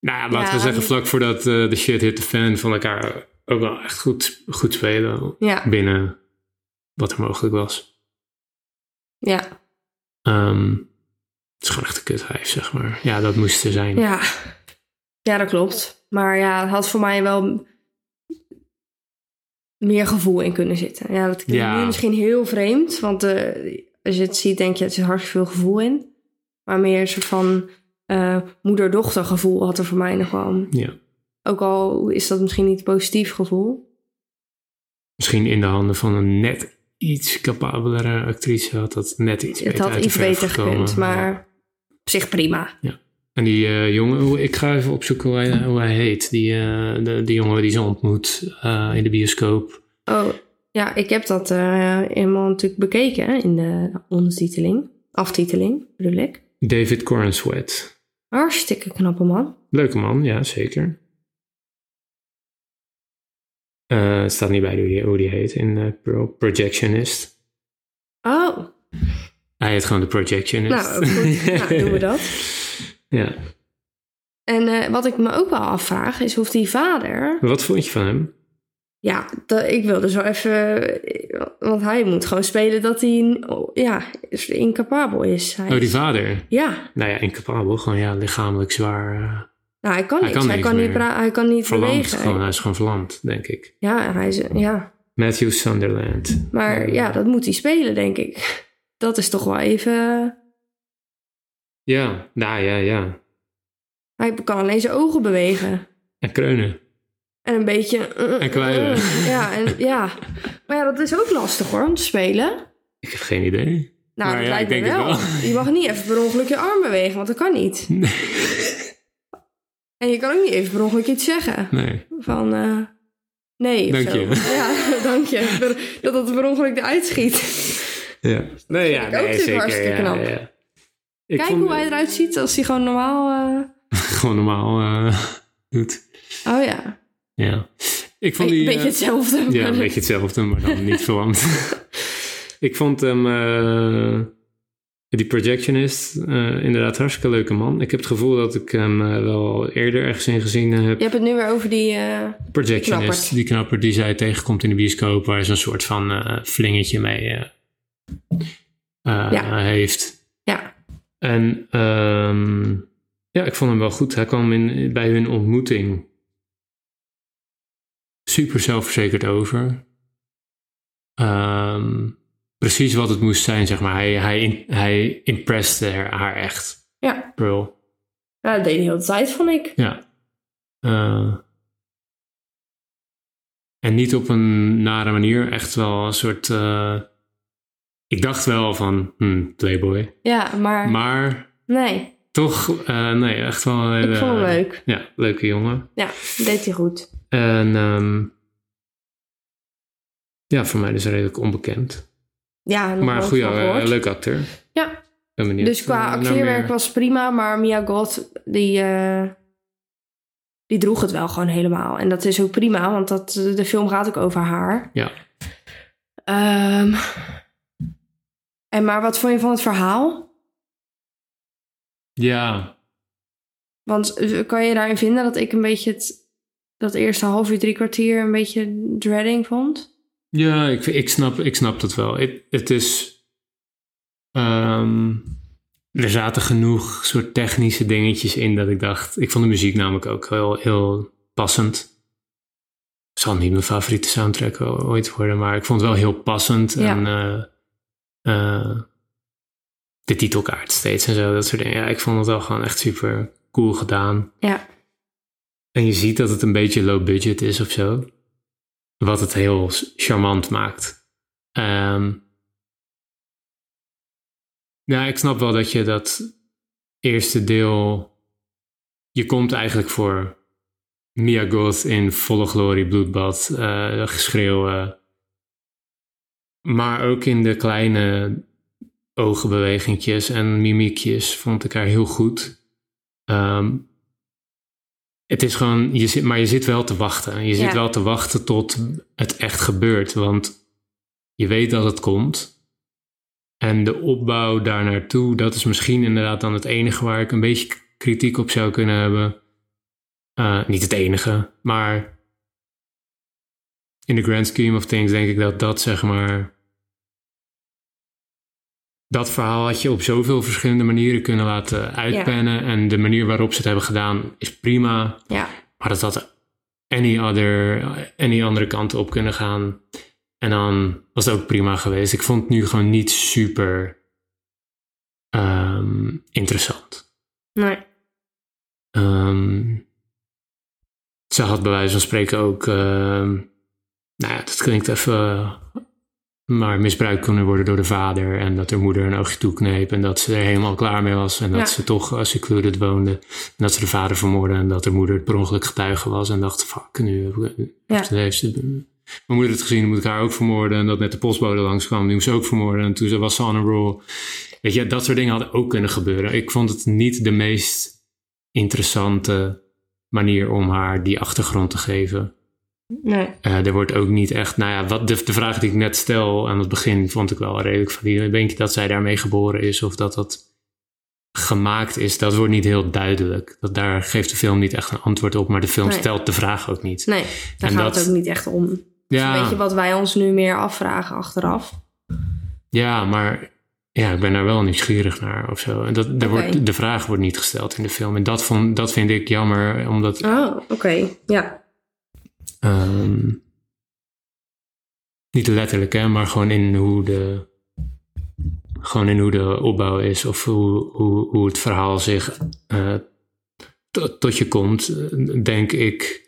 Speaker 1: nou ja, laten
Speaker 2: Ja,
Speaker 1: we zeggen,
Speaker 2: die-
Speaker 1: vlak voordat eh, de shit hit the fan van elkaar ook wel echt goed, goed spelen
Speaker 2: Ja.
Speaker 1: binnen wat er mogelijk was.
Speaker 2: Ja.
Speaker 1: Ehm, het is gewoon echt een kutwijf, zeg maar. Ja, dat moest er zijn.
Speaker 2: Ja. Ja, dat klopt. Maar ja, het had voor mij wel meer gevoel in kunnen zitten. Ja, dat klinkt
Speaker 1: Ja.
Speaker 2: nu misschien heel vreemd, want eh, als je het ziet, denk je, er zit hartstikke veel gevoel in. Maar meer een soort van eh, moeder-dochter gevoel had er voor mij nog wel
Speaker 1: Ja.
Speaker 2: Ook al is dat misschien niet een positief gevoel.
Speaker 1: Misschien in de handen van een net iets capabelere actrice had dat net iets
Speaker 2: Het
Speaker 1: beter
Speaker 2: had
Speaker 1: uit de
Speaker 2: iets
Speaker 1: verf
Speaker 2: beter
Speaker 1: gekomen.
Speaker 2: gekund, maar
Speaker 1: Ja.
Speaker 2: op zich prima.
Speaker 1: En die eh, jongen, hoe- ik ga even opzoeken hoe hij, hoe hij heet. Die, eh, de, die jongen die ze ontmoet eh, in de bioscoop.
Speaker 2: Oh, ja, ik heb dat eh, helemaal natuurlijk bekeken hè, in de ondertiteling. Aftiteling, bedoel ik.
Speaker 1: David Cornsweat.
Speaker 2: Hartstikke knappe man.
Speaker 1: Leuke man, ja, zeker. Eh, het staat niet bij hoe die, hoe die heet in eh, Pro. Projectionist.
Speaker 2: Oh,
Speaker 1: Hij heet gewoon de Projectionist.
Speaker 2: nou goed, nou, doen we dat.
Speaker 1: Ja.
Speaker 2: En eh, wat ik me ook wel afvraag is of die vader.
Speaker 1: Wat vond je van hem?
Speaker 2: Ja, dat, ik wil dus wel even. eh, Want hij moet gewoon spelen dat hij oh, ja, incapabel is. Hij
Speaker 1: Oh, die
Speaker 2: is-
Speaker 1: vader.
Speaker 2: Ja,
Speaker 1: Nou ja, incapabel. Gewoon ja, lichamelijk zwaar. eh,
Speaker 2: nou, hij kan
Speaker 1: Hij
Speaker 2: niks.
Speaker 1: kan
Speaker 2: hij,
Speaker 1: niks
Speaker 2: kan niet
Speaker 1: meer.
Speaker 2: pra- hij kan niet
Speaker 1: verlamd.
Speaker 2: bewegen.
Speaker 1: Gewoon, hij is gewoon verlamd, denk ik.
Speaker 2: Ja, hij is, ja,
Speaker 1: Matthew Sunderland.
Speaker 2: maar ja, dat moet hij spelen, denk ik. Dat is toch wel even.
Speaker 1: Ja, nou ja, ja.
Speaker 2: Hij kan alleen zijn ogen bewegen.
Speaker 1: En kreunen.
Speaker 2: En een beetje. eh,
Speaker 1: En kwijlen.
Speaker 2: eh, ja, en, ja, maar ja, dat is ook lastig hoor om te spelen.
Speaker 1: Ik heb geen idee.
Speaker 2: Nou,
Speaker 1: Maar
Speaker 2: dat
Speaker 1: ja,
Speaker 2: lijkt
Speaker 1: ik
Speaker 2: me
Speaker 1: denk het
Speaker 2: wel.
Speaker 1: wel.
Speaker 2: Je mag niet even per ongeluk je arm bewegen, want dat kan niet. En je kan ook niet even per ongeluk iets zeggen.
Speaker 1: Nee.
Speaker 2: Van, eh, nee of
Speaker 1: Dank
Speaker 2: zo.
Speaker 1: je.
Speaker 2: Ja, dank je. Per- Dat het per ongeluk eruit schiet.
Speaker 1: Ja. Nee, ja,
Speaker 2: ik ook
Speaker 1: nee,
Speaker 2: natuurlijk
Speaker 1: zeker.
Speaker 2: hartstikke
Speaker 1: ja,
Speaker 2: knap.
Speaker 1: ja. Ik
Speaker 2: Kijk
Speaker 1: vond-
Speaker 2: hoe hij eruit ziet als hij gewoon normaal... eh,
Speaker 1: Gewoon normaal eh, doet.
Speaker 2: Oh ja,
Speaker 1: Ja. Ik
Speaker 2: een
Speaker 1: vond die...
Speaker 2: beetje
Speaker 1: eh,
Speaker 2: hetzelfde.
Speaker 1: Ja,
Speaker 2: maar-
Speaker 1: een beetje hetzelfde, maar dan niet verwant. ik vond hem, eh, die projectionist, eh, inderdaad hartstikke leuke man. Ik heb het gevoel dat ik hem eh, wel eerder ergens in gezien eh, heb.
Speaker 2: Je hebt het nu weer over die... eh,
Speaker 1: projectionist,
Speaker 2: die knapper.
Speaker 1: die knapper die zij tegenkomt in de bioscoop, waar ze een soort van eh, vlingertje mee eh, eh,
Speaker 2: Ja.
Speaker 1: heeft.
Speaker 2: ja,
Speaker 1: En ehm, ja, ik vond hem wel goed. Hij kwam in, bij hun ontmoeting super zelfverzekerd over. Ehm, precies wat het moest zijn, zeg maar. Hij, hij, hij impresste haar, haar echt,
Speaker 2: ja.
Speaker 1: Pearl.
Speaker 2: ja, dat deed hij heel de tijd, vond ik.
Speaker 1: Ja. Eh, en niet op een nare manier. Echt wel een soort... eh, ik dacht wel van, hmm, playboy.
Speaker 2: Ja, maar...
Speaker 1: Maar
Speaker 2: Nee,
Speaker 1: toch, eh, nee, echt wel een
Speaker 2: ik
Speaker 1: hele-
Speaker 2: vond hem leuk.
Speaker 1: Ja, leuke jongen.
Speaker 2: Ja, deed hij goed.
Speaker 1: En ehm, ja, voor mij dus redelijk onbekend.
Speaker 2: Ja, nog
Speaker 1: maar een
Speaker 2: nooit
Speaker 1: goede,
Speaker 2: van gehoord.
Speaker 1: eh, leuke acteur.
Speaker 2: Ja,
Speaker 1: Ben benieuwd,
Speaker 2: Dus qua
Speaker 1: eh, naar
Speaker 2: acteerwerk
Speaker 1: meer.
Speaker 2: was prima, maar Mia God, die, eh, die droeg het wel gewoon helemaal. En dat is ook prima, want dat, de film gaat ook over haar.
Speaker 1: Ja.
Speaker 2: Ehm, en maar wat vond je van het verhaal?
Speaker 1: Ja,
Speaker 2: Want eh, kan je daarin vinden dat ik een beetje het, dat eerste half uur, drie kwartier een beetje dreading vond?
Speaker 1: Ja, ik, ik, snap, ik snap dat wel. Het het is. ehm, er zaten genoeg soort technische dingetjes in dat ik dacht. Ik vond de muziek namelijk ook heel, heel passend. Zal niet mijn favoriete soundtrack o- ooit worden, maar ik vond het wel heel passend.
Speaker 2: Ja.
Speaker 1: En eh, eh, de titelkaart steeds en zo, dat soort dingen. Ja, ik vond het wel gewoon echt super cool gedaan.
Speaker 2: Ja.
Speaker 1: En je ziet dat het een beetje low budget is of zo. Wat het heel s- charmant maakt. Ehm nou, ik snap wel dat je dat eerste deel. Je komt eigenlijk voor Mia Goth in volle glorie, bloedbad, eh geschreeuw. eh. maar ook in de kleine ogenbewegingjes en mimiekjes vond ik haar heel goed. Ehm, het is gewoon, je zit, maar je zit wel te wachten. Je zit
Speaker 2: Ja.
Speaker 1: wel te wachten tot het echt gebeurt. Want je weet dat het komt. En de opbouw daar naartoe, dat is misschien inderdaad dan het enige waar ik een beetje k- kritiek op zou kunnen hebben. Eh, niet het enige, maar in the grand scheme of things denk ik dat dat zeg maar. Dat verhaal had je op zoveel verschillende manieren kunnen laten uitpennen. En de manier waarop ze het hebben gedaan is prima.
Speaker 2: Ja.
Speaker 1: Maar dat had any, other, any andere kant op kunnen gaan. En dan was het ook prima geweest. Ik vond het nu gewoon niet super ehm, interessant.
Speaker 2: Nee.
Speaker 1: Ehm, Ze had bij wijze van spreken ook, ehm, nou ja, dat klinkt even, eh, maar misbruikt kunnen worden door de vader. En dat haar moeder een oogje toekneep en dat ze er helemaal klaar mee was. En dat
Speaker 2: Ja.
Speaker 1: ze toch als secluded woonde. En dat ze de vader vermoordde en dat haar moeder per ongeluk getuige was. En dacht, fuck, nu heb ik-
Speaker 2: Ja.
Speaker 1: ze heeft ze- mijn moeder het gezien, dan moet ik haar ook vermoorden. En dat net de postbode langskwam, die moest ze ook vermoorden. En toen ze- was ze on a roll. Weet je, dat soort dingen hadden ook kunnen gebeuren. Ik vond het niet de meest interessante manier om haar die achtergrond te geven.
Speaker 2: Nee.
Speaker 1: Eh, er wordt ook niet echt, nou ja, wat de, de vraag die ik net stel aan het begin vond ik wel redelijk valide. Denk je dat zij daarmee geboren is of dat dat gemaakt is? Dat wordt niet heel duidelijk. Dat, daar geeft de film niet echt een antwoord op, maar de film
Speaker 2: Nee.
Speaker 1: stelt de vraag ook niet.
Speaker 2: Nee, daar
Speaker 1: En dat-
Speaker 2: gaat het ook niet echt om. Het is
Speaker 1: Ja.
Speaker 2: Een beetje wat wij ons nu meer afvragen achteraf.
Speaker 1: Ja, maar ja, ik ben daar wel nieuwsgierig naar of zo. En dat, daar
Speaker 2: Oké.
Speaker 1: wordt, de vraag wordt niet gesteld in de film. En dat, vond, dat vind ik jammer, omdat...
Speaker 2: Oh, oké. Ja.
Speaker 1: ehm, niet letterlijk, hè, maar gewoon in hoe de... Gewoon in hoe de opbouw is of hoe, hoe, hoe het verhaal zich eh, tot- tot je komt, eh, denk ik...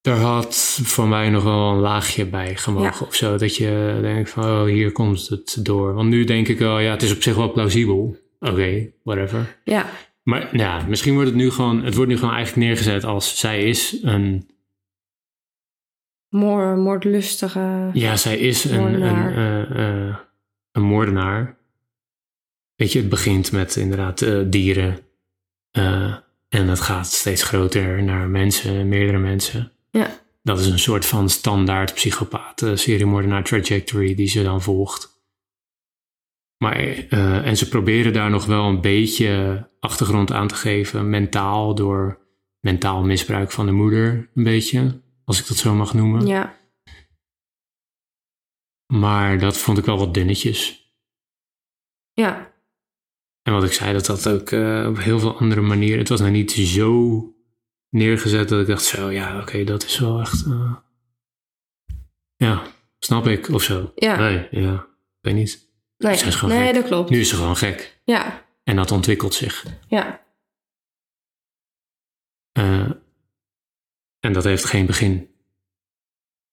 Speaker 1: Daar had voor mij nog wel een laagje bij gemogen of zo. Dat je denkt van, oh, hier komt het door. Want nu denk ik wel, ja, het is op zich wel plausibel. Oké, whatever.
Speaker 2: Ja.
Speaker 1: Maar nou ja, misschien wordt het nu gewoon, het wordt nu gewoon eigenlijk neergezet als zij is een,
Speaker 2: Moor, moordlustige.
Speaker 1: ja, zij is een, een,
Speaker 2: Moordenaar.
Speaker 1: eh, eh, een moordenaar. Weet je, het begint met inderdaad eh, dieren. Eh, en het gaat steeds groter naar mensen, meerdere mensen.
Speaker 2: Ja.
Speaker 1: Dat is een soort van standaard psychopaat, eh, seriemoordenaar trajectory die ze dan volgt. Maar, eh, en ze proberen daar nog wel een beetje achtergrond aan te geven, mentaal, door mentaal misbruik van de moeder, een beetje, als ik dat zo mag noemen.
Speaker 2: Ja.
Speaker 1: Maar dat vond ik wel wat dunnetjes.
Speaker 2: Ja.
Speaker 1: En wat ik zei, dat dat ook eh, op heel veel andere manieren. Het was nou niet zo neergezet dat ik dacht: zo ja, oké, dat is wel echt. eh, ja, snap ik of zo.
Speaker 2: Ja.
Speaker 1: Nee, ja, ik weet niet.
Speaker 2: Nee,
Speaker 1: Ze is gewoon
Speaker 2: nee
Speaker 1: gek.
Speaker 2: dat klopt.
Speaker 1: Nu is ze gewoon gek.
Speaker 2: Ja.
Speaker 1: En dat ontwikkelt zich.
Speaker 2: Ja.
Speaker 1: Eh, en dat heeft geen begin.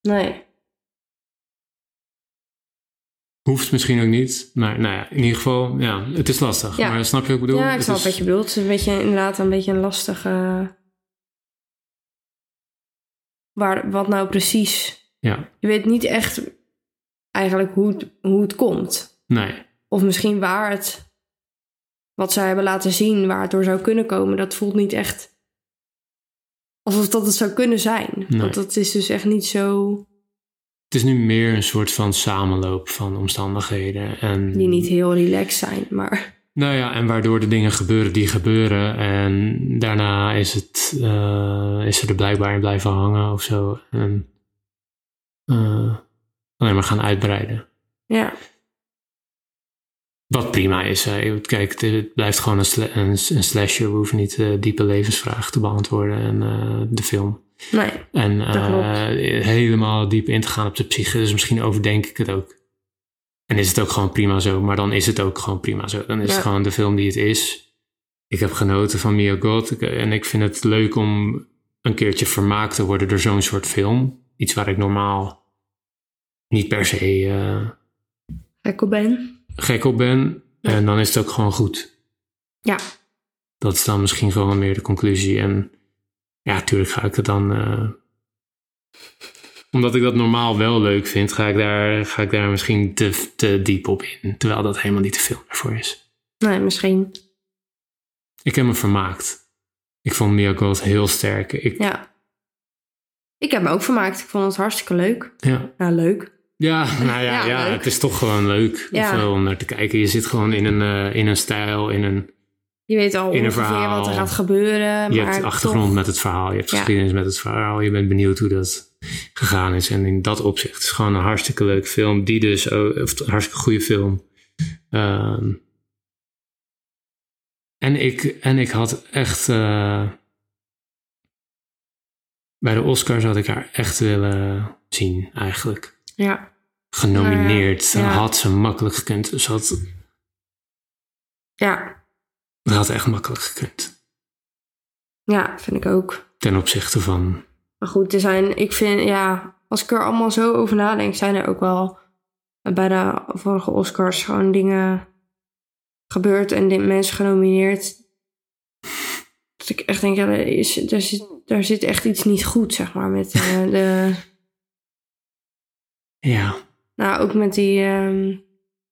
Speaker 2: Nee.
Speaker 1: Hoeft misschien ook niet. Maar nou ja, in ieder geval, ja, het is lastig.
Speaker 2: Ja.
Speaker 1: Maar snap je wat ik bedoel?
Speaker 2: ja, ik
Speaker 1: Het
Speaker 2: snap
Speaker 1: is-
Speaker 2: wat je bedoelt. Het is een beetje, inderdaad een beetje een lastige... eh, Waar, wat nou precies...
Speaker 1: Ja,
Speaker 2: Je weet niet echt eigenlijk hoe het, hoe het komt.
Speaker 1: nee.
Speaker 2: Of misschien waar het... Wat zij hebben laten zien, waar het door zou kunnen komen. Dat voelt niet echt... Alsof dat het zou kunnen zijn.
Speaker 1: Nee.
Speaker 2: Want dat is dus echt niet zo...
Speaker 1: Het is nu meer een soort van samenloop van omstandigheden. En
Speaker 2: Die niet heel relaxed zijn, maar...
Speaker 1: Nou ja, en waardoor de dingen gebeuren die gebeuren. En daarna is het eh, is ze er blijkbaar in blijven hangen of zo. En eh, alleen maar gaan uitbreiden.
Speaker 2: Ja,
Speaker 1: Wat prima is. Hè. Kijk, het, het blijft gewoon een, sla- een, een slasher. We hoeven niet eh, diepe levensvragen te beantwoorden. En eh, de film.
Speaker 2: nee.
Speaker 1: En
Speaker 2: Dat klopt.
Speaker 1: eh, helemaal diep in te gaan op de psyche. Dus misschien overdenk ik het ook. En is het ook gewoon prima zo. Maar dan is het ook gewoon prima zo. Dan is
Speaker 2: Ja.
Speaker 1: het gewoon de film die het is. Ik heb genoten van Mia God. Ik- eh, En ik vind het leuk om een keertje vermaakt te worden door zo'n soort film. Iets waar ik normaal niet per se eh,
Speaker 2: Gekko ben.
Speaker 1: gek op ben. En dan is het ook gewoon goed.
Speaker 2: Ja,
Speaker 1: Dat is dan misschien gewoon meer de conclusie. En ja, natuurlijk ga ik het dan. eh, omdat ik dat normaal wel leuk vind, ga ik daar, ga ik daar misschien te, te diep op in. Terwijl dat helemaal niet de film ervoor is.
Speaker 2: nee, misschien.
Speaker 1: Ik heb me vermaakt. Ik vond Mia Gold heel sterk. Ik, ja.
Speaker 2: Ja. Ik heb me ook vermaakt. Ik vond het hartstikke leuk.
Speaker 1: Ja.
Speaker 2: Nou, leuk.
Speaker 1: nou ja, ja,
Speaker 2: Ja, leuk.
Speaker 1: het is toch gewoon leuk
Speaker 2: Ja.
Speaker 1: of zo, om naar te kijken. Je zit gewoon in een, eh, in een stijl, in een.
Speaker 2: Je weet al
Speaker 1: In een
Speaker 2: ongeveer
Speaker 1: verhaal.
Speaker 2: wat er gaat gebeuren.
Speaker 1: Je
Speaker 2: maar
Speaker 1: hebt achtergrond
Speaker 2: toch-
Speaker 1: met het verhaal, je hebt
Speaker 2: Ja.
Speaker 1: geschiedenis met het verhaal, je bent benieuwd hoe dat gegaan is. En in dat opzicht is het gewoon een hartstikke leuk film, die dus, ook- of een hartstikke goede film. Ehm, en, ik, en ik had echt, eh, bij de Oscars had ik haar echt willen zien eigenlijk.
Speaker 2: Ja,
Speaker 1: Genomineerd,
Speaker 2: Nou ja, ja.
Speaker 1: had ze makkelijk gekund. Ze had,
Speaker 2: ja,
Speaker 1: ze had echt makkelijk gekund.
Speaker 2: ja, vind ik ook.
Speaker 1: ten opzichte van.
Speaker 2: Maar goed, er zijn, ik vind, ja, als ik er allemaal zo over nadenk, zijn er ook wel eh, bij de vorige Oscars gewoon dingen gebeurd en dit mensen genomineerd. Dat ik echt denk, ja, er is, daar, zit, daar zit echt iets niet goed, zeg maar, met eh, de...
Speaker 1: Ja,
Speaker 2: Nou, ook met die, ehm,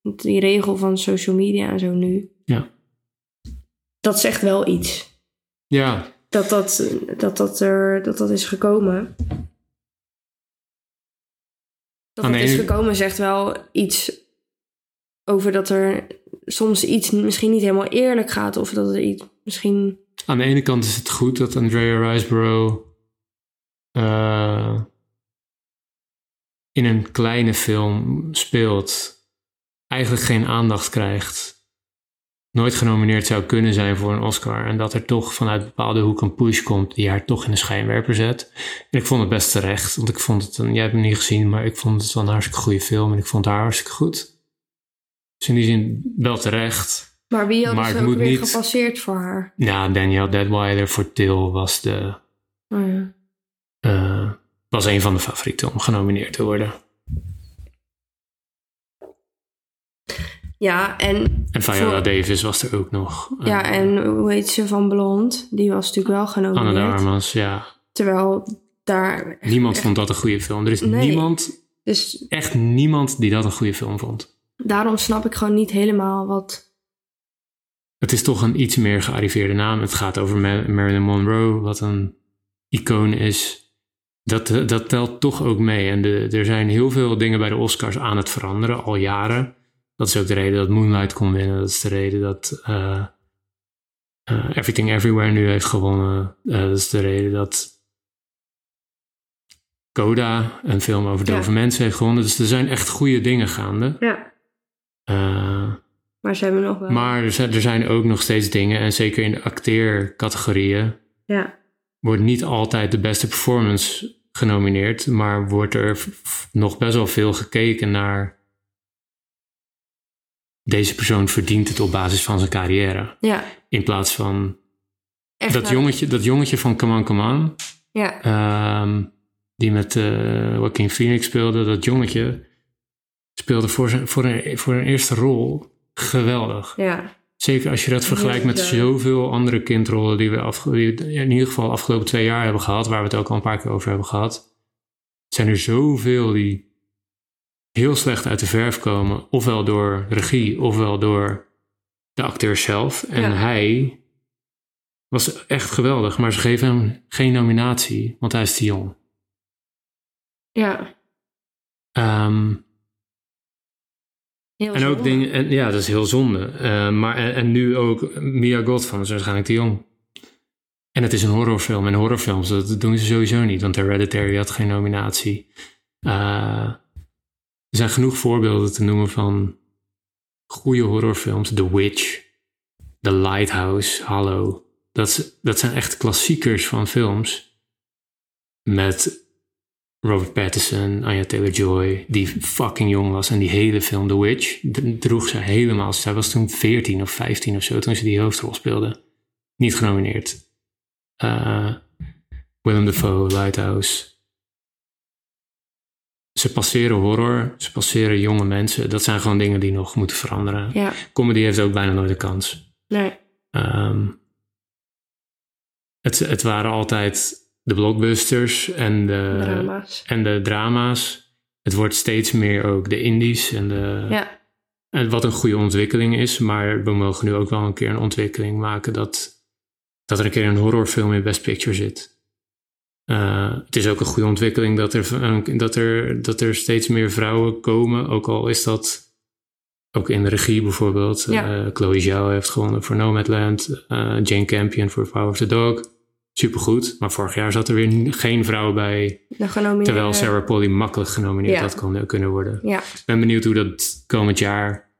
Speaker 2: met die regel van social media en zo nu.
Speaker 1: Ja.
Speaker 2: Dat zegt wel iets.
Speaker 1: ja.
Speaker 2: Dat dat, dat, dat, er, dat, dat is gekomen. Dat
Speaker 1: Aan de
Speaker 2: het is
Speaker 1: ene-
Speaker 2: gekomen zegt wel iets over dat er soms iets misschien niet helemaal eerlijk gaat. Of dat er iets misschien...
Speaker 1: Aan de ene kant is het goed dat Andrea Riseborough eh, in een kleine film speelt, eigenlijk geen aandacht krijgt, nooit genomineerd zou kunnen zijn voor een Oscar en dat er toch vanuit bepaalde hoek een push komt die haar toch in de schijnwerper zet. En ik vond het best terecht, want ik vond het, een, jij hebt hem niet gezien, maar ik vond het wel een hartstikke goede film en ik vond haar hartstikke goed. Dus in die zin wel terecht.
Speaker 2: Maar wie
Speaker 1: Maar
Speaker 2: had
Speaker 1: het
Speaker 2: het ook
Speaker 1: moet
Speaker 2: weer
Speaker 1: niet-
Speaker 2: gepasseerd voor haar?
Speaker 1: Ja, Danielle Deadwiler voor Til was de
Speaker 2: Oh ja.
Speaker 1: eh, was een van de favorieten om genomineerd te worden.
Speaker 2: ja, en,
Speaker 1: En Viola
Speaker 2: Voor-
Speaker 1: Davis was er ook nog. Eh,
Speaker 2: ja, en hoe heet ze van Blond? Die was natuurlijk wel
Speaker 1: Anna de
Speaker 2: genomineerd.
Speaker 1: Armas, ja.
Speaker 2: Terwijl daar...
Speaker 1: Niemand vond dat een goede film. Er is
Speaker 2: Nee.
Speaker 1: niemand,
Speaker 2: Dus
Speaker 1: echt niemand die dat een goede film vond.
Speaker 2: daarom snap ik gewoon niet helemaal wat...
Speaker 1: Het is toch een iets meer gearriveerde naam. Het gaat over Ma- Marilyn Monroe, wat een icoon is. Dat, eh, dat telt toch ook mee. En de, er zijn heel veel dingen bij de Oscars aan het veranderen, al jaren. Dat is ook de reden dat Moonlight kon winnen. Dat is de reden dat eh, eh, Everything Everywhere nu heeft gewonnen. Eh, dat is de reden dat Coda, een film over
Speaker 2: Ja.
Speaker 1: dove mensen, heeft gewonnen. Dus er zijn echt goede dingen gaande.
Speaker 2: Ja.
Speaker 1: Eh,
Speaker 2: Maar ze hebben nog wel...
Speaker 1: maar er zijn, er zijn ook nog steeds dingen, en zeker in de acteercategorieën,
Speaker 2: Ja.
Speaker 1: wordt niet altijd de beste performance genomineerd, maar wordt er f- f- nog best wel veel gekeken naar deze persoon verdient het op basis van zijn carrière.
Speaker 2: Ja.
Speaker 1: In plaats van
Speaker 2: Echt
Speaker 1: dat
Speaker 2: waar.
Speaker 1: jongetje, dat jongetje van Come On Come On,
Speaker 2: Ja.
Speaker 1: ehm, die met eh Joaquin Phoenix speelde, dat jongetje speelde voor, zijn, voor, een, voor een eerste rol geweldig.
Speaker 2: Ja.
Speaker 1: Zeker als je dat vergelijkt met
Speaker 2: Ja.
Speaker 1: zoveel andere kindrollen die we afge- die we in ieder geval de afgelopen twee jaar hebben gehad, waar we het ook al een paar keer over hebben gehad. Zijn er zoveel die heel slecht uit de verf komen, ofwel door regie, ofwel door de acteur zelf. En
Speaker 2: Ja.
Speaker 1: hij was echt geweldig, maar ze geven hem geen nominatie, want hij is te jong.
Speaker 2: Ja.
Speaker 1: Ehm,
Speaker 2: Heel
Speaker 1: en ook
Speaker 2: zonde.
Speaker 1: dingen, en, ja, dat is heel zonde. Eh, maar, en, en nu ook Mia Goldman is waarschijnlijk te jong. En het is een horrorfilm. En horrorfilms, dat doen ze sowieso niet. Want Hereditary had geen nominatie. Eh, er zijn genoeg voorbeelden te noemen van goede horrorfilms. The Witch, The Lighthouse, Hallo. Dat, is- dat zijn echt klassiekers van films. Met Robert Pattinson, Anya Taylor-Joy, die fucking jong was. En die hele film The Witch d- droeg ze helemaal. Zij was toen 14 of 15 of zo toen ze die hoofdrol speelde. Niet genomineerd. Eh, Willem Dafoe, Lighthouse. Ze passeren horror, ze passeren jonge mensen. Dat zijn gewoon dingen die nog moeten veranderen.
Speaker 2: Ja.
Speaker 1: Comedy heeft ook bijna nooit een kans.
Speaker 2: Nee.
Speaker 1: Ehm, het, het waren altijd de blockbusters en de,
Speaker 2: Drama's.
Speaker 1: en de drama's. Het wordt steeds meer ook de indies en de,
Speaker 2: Ja.
Speaker 1: en wat een goede ontwikkeling is. Maar we mogen nu ook wel een keer een ontwikkeling maken dat, dat er een keer een horrorfilm in Best Picture zit. Eh, het is ook een goede ontwikkeling dat er, v- een- dat, er, dat er steeds meer vrouwen komen. Ook al is dat ook in de regie bijvoorbeeld.
Speaker 2: Ja.
Speaker 1: Eh, Chloe Zhao heeft gewonnen voor Nomadland. eh Jane Campion voor Power of the Dog. Supergoed. Maar vorig jaar zat er weer n- geen vrouw bij.
Speaker 2: De genomineerde.
Speaker 1: Terwijl Sarah Polly makkelijk genomineerd
Speaker 2: Ja.
Speaker 1: had kon- kunnen worden.
Speaker 2: eh, Ja.
Speaker 1: Ik ben benieuwd hoe dat komend jaar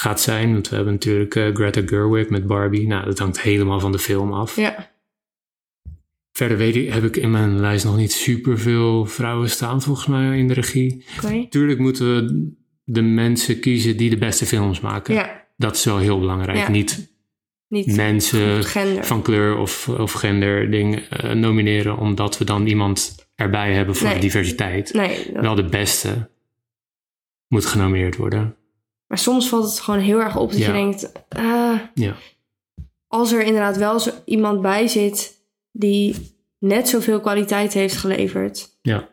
Speaker 1: gaat zijn. Want we hebben natuurlijk eh, Greta Gerwig met Barbie. Nou, dat hangt helemaal van de film af.
Speaker 2: Ja.
Speaker 1: Verder weet ik, heb ik in mijn lijst nog niet superveel vrouwen staan volgens mij in de regie.
Speaker 2: Oké.
Speaker 1: Tuurlijk moeten we de mensen kiezen die de beste films maken.
Speaker 2: Ja.
Speaker 1: Dat is wel heel belangrijk.
Speaker 2: Ja.
Speaker 1: Niet
Speaker 2: Niet
Speaker 1: mensen
Speaker 2: gender.
Speaker 1: van kleur of, of gender ding eh, nomineren, omdat we dan iemand erbij hebben voor
Speaker 2: Nee.
Speaker 1: de diversiteit.
Speaker 2: Nee, dat-
Speaker 1: Wel de beste moet genomineerd worden.
Speaker 2: maar soms valt het gewoon heel erg op dat
Speaker 1: Ja.
Speaker 2: je denkt... ah,
Speaker 1: Ja.
Speaker 2: als er inderdaad wel zo iemand bij zit die net zoveel kwaliteit heeft geleverd...
Speaker 1: Ja.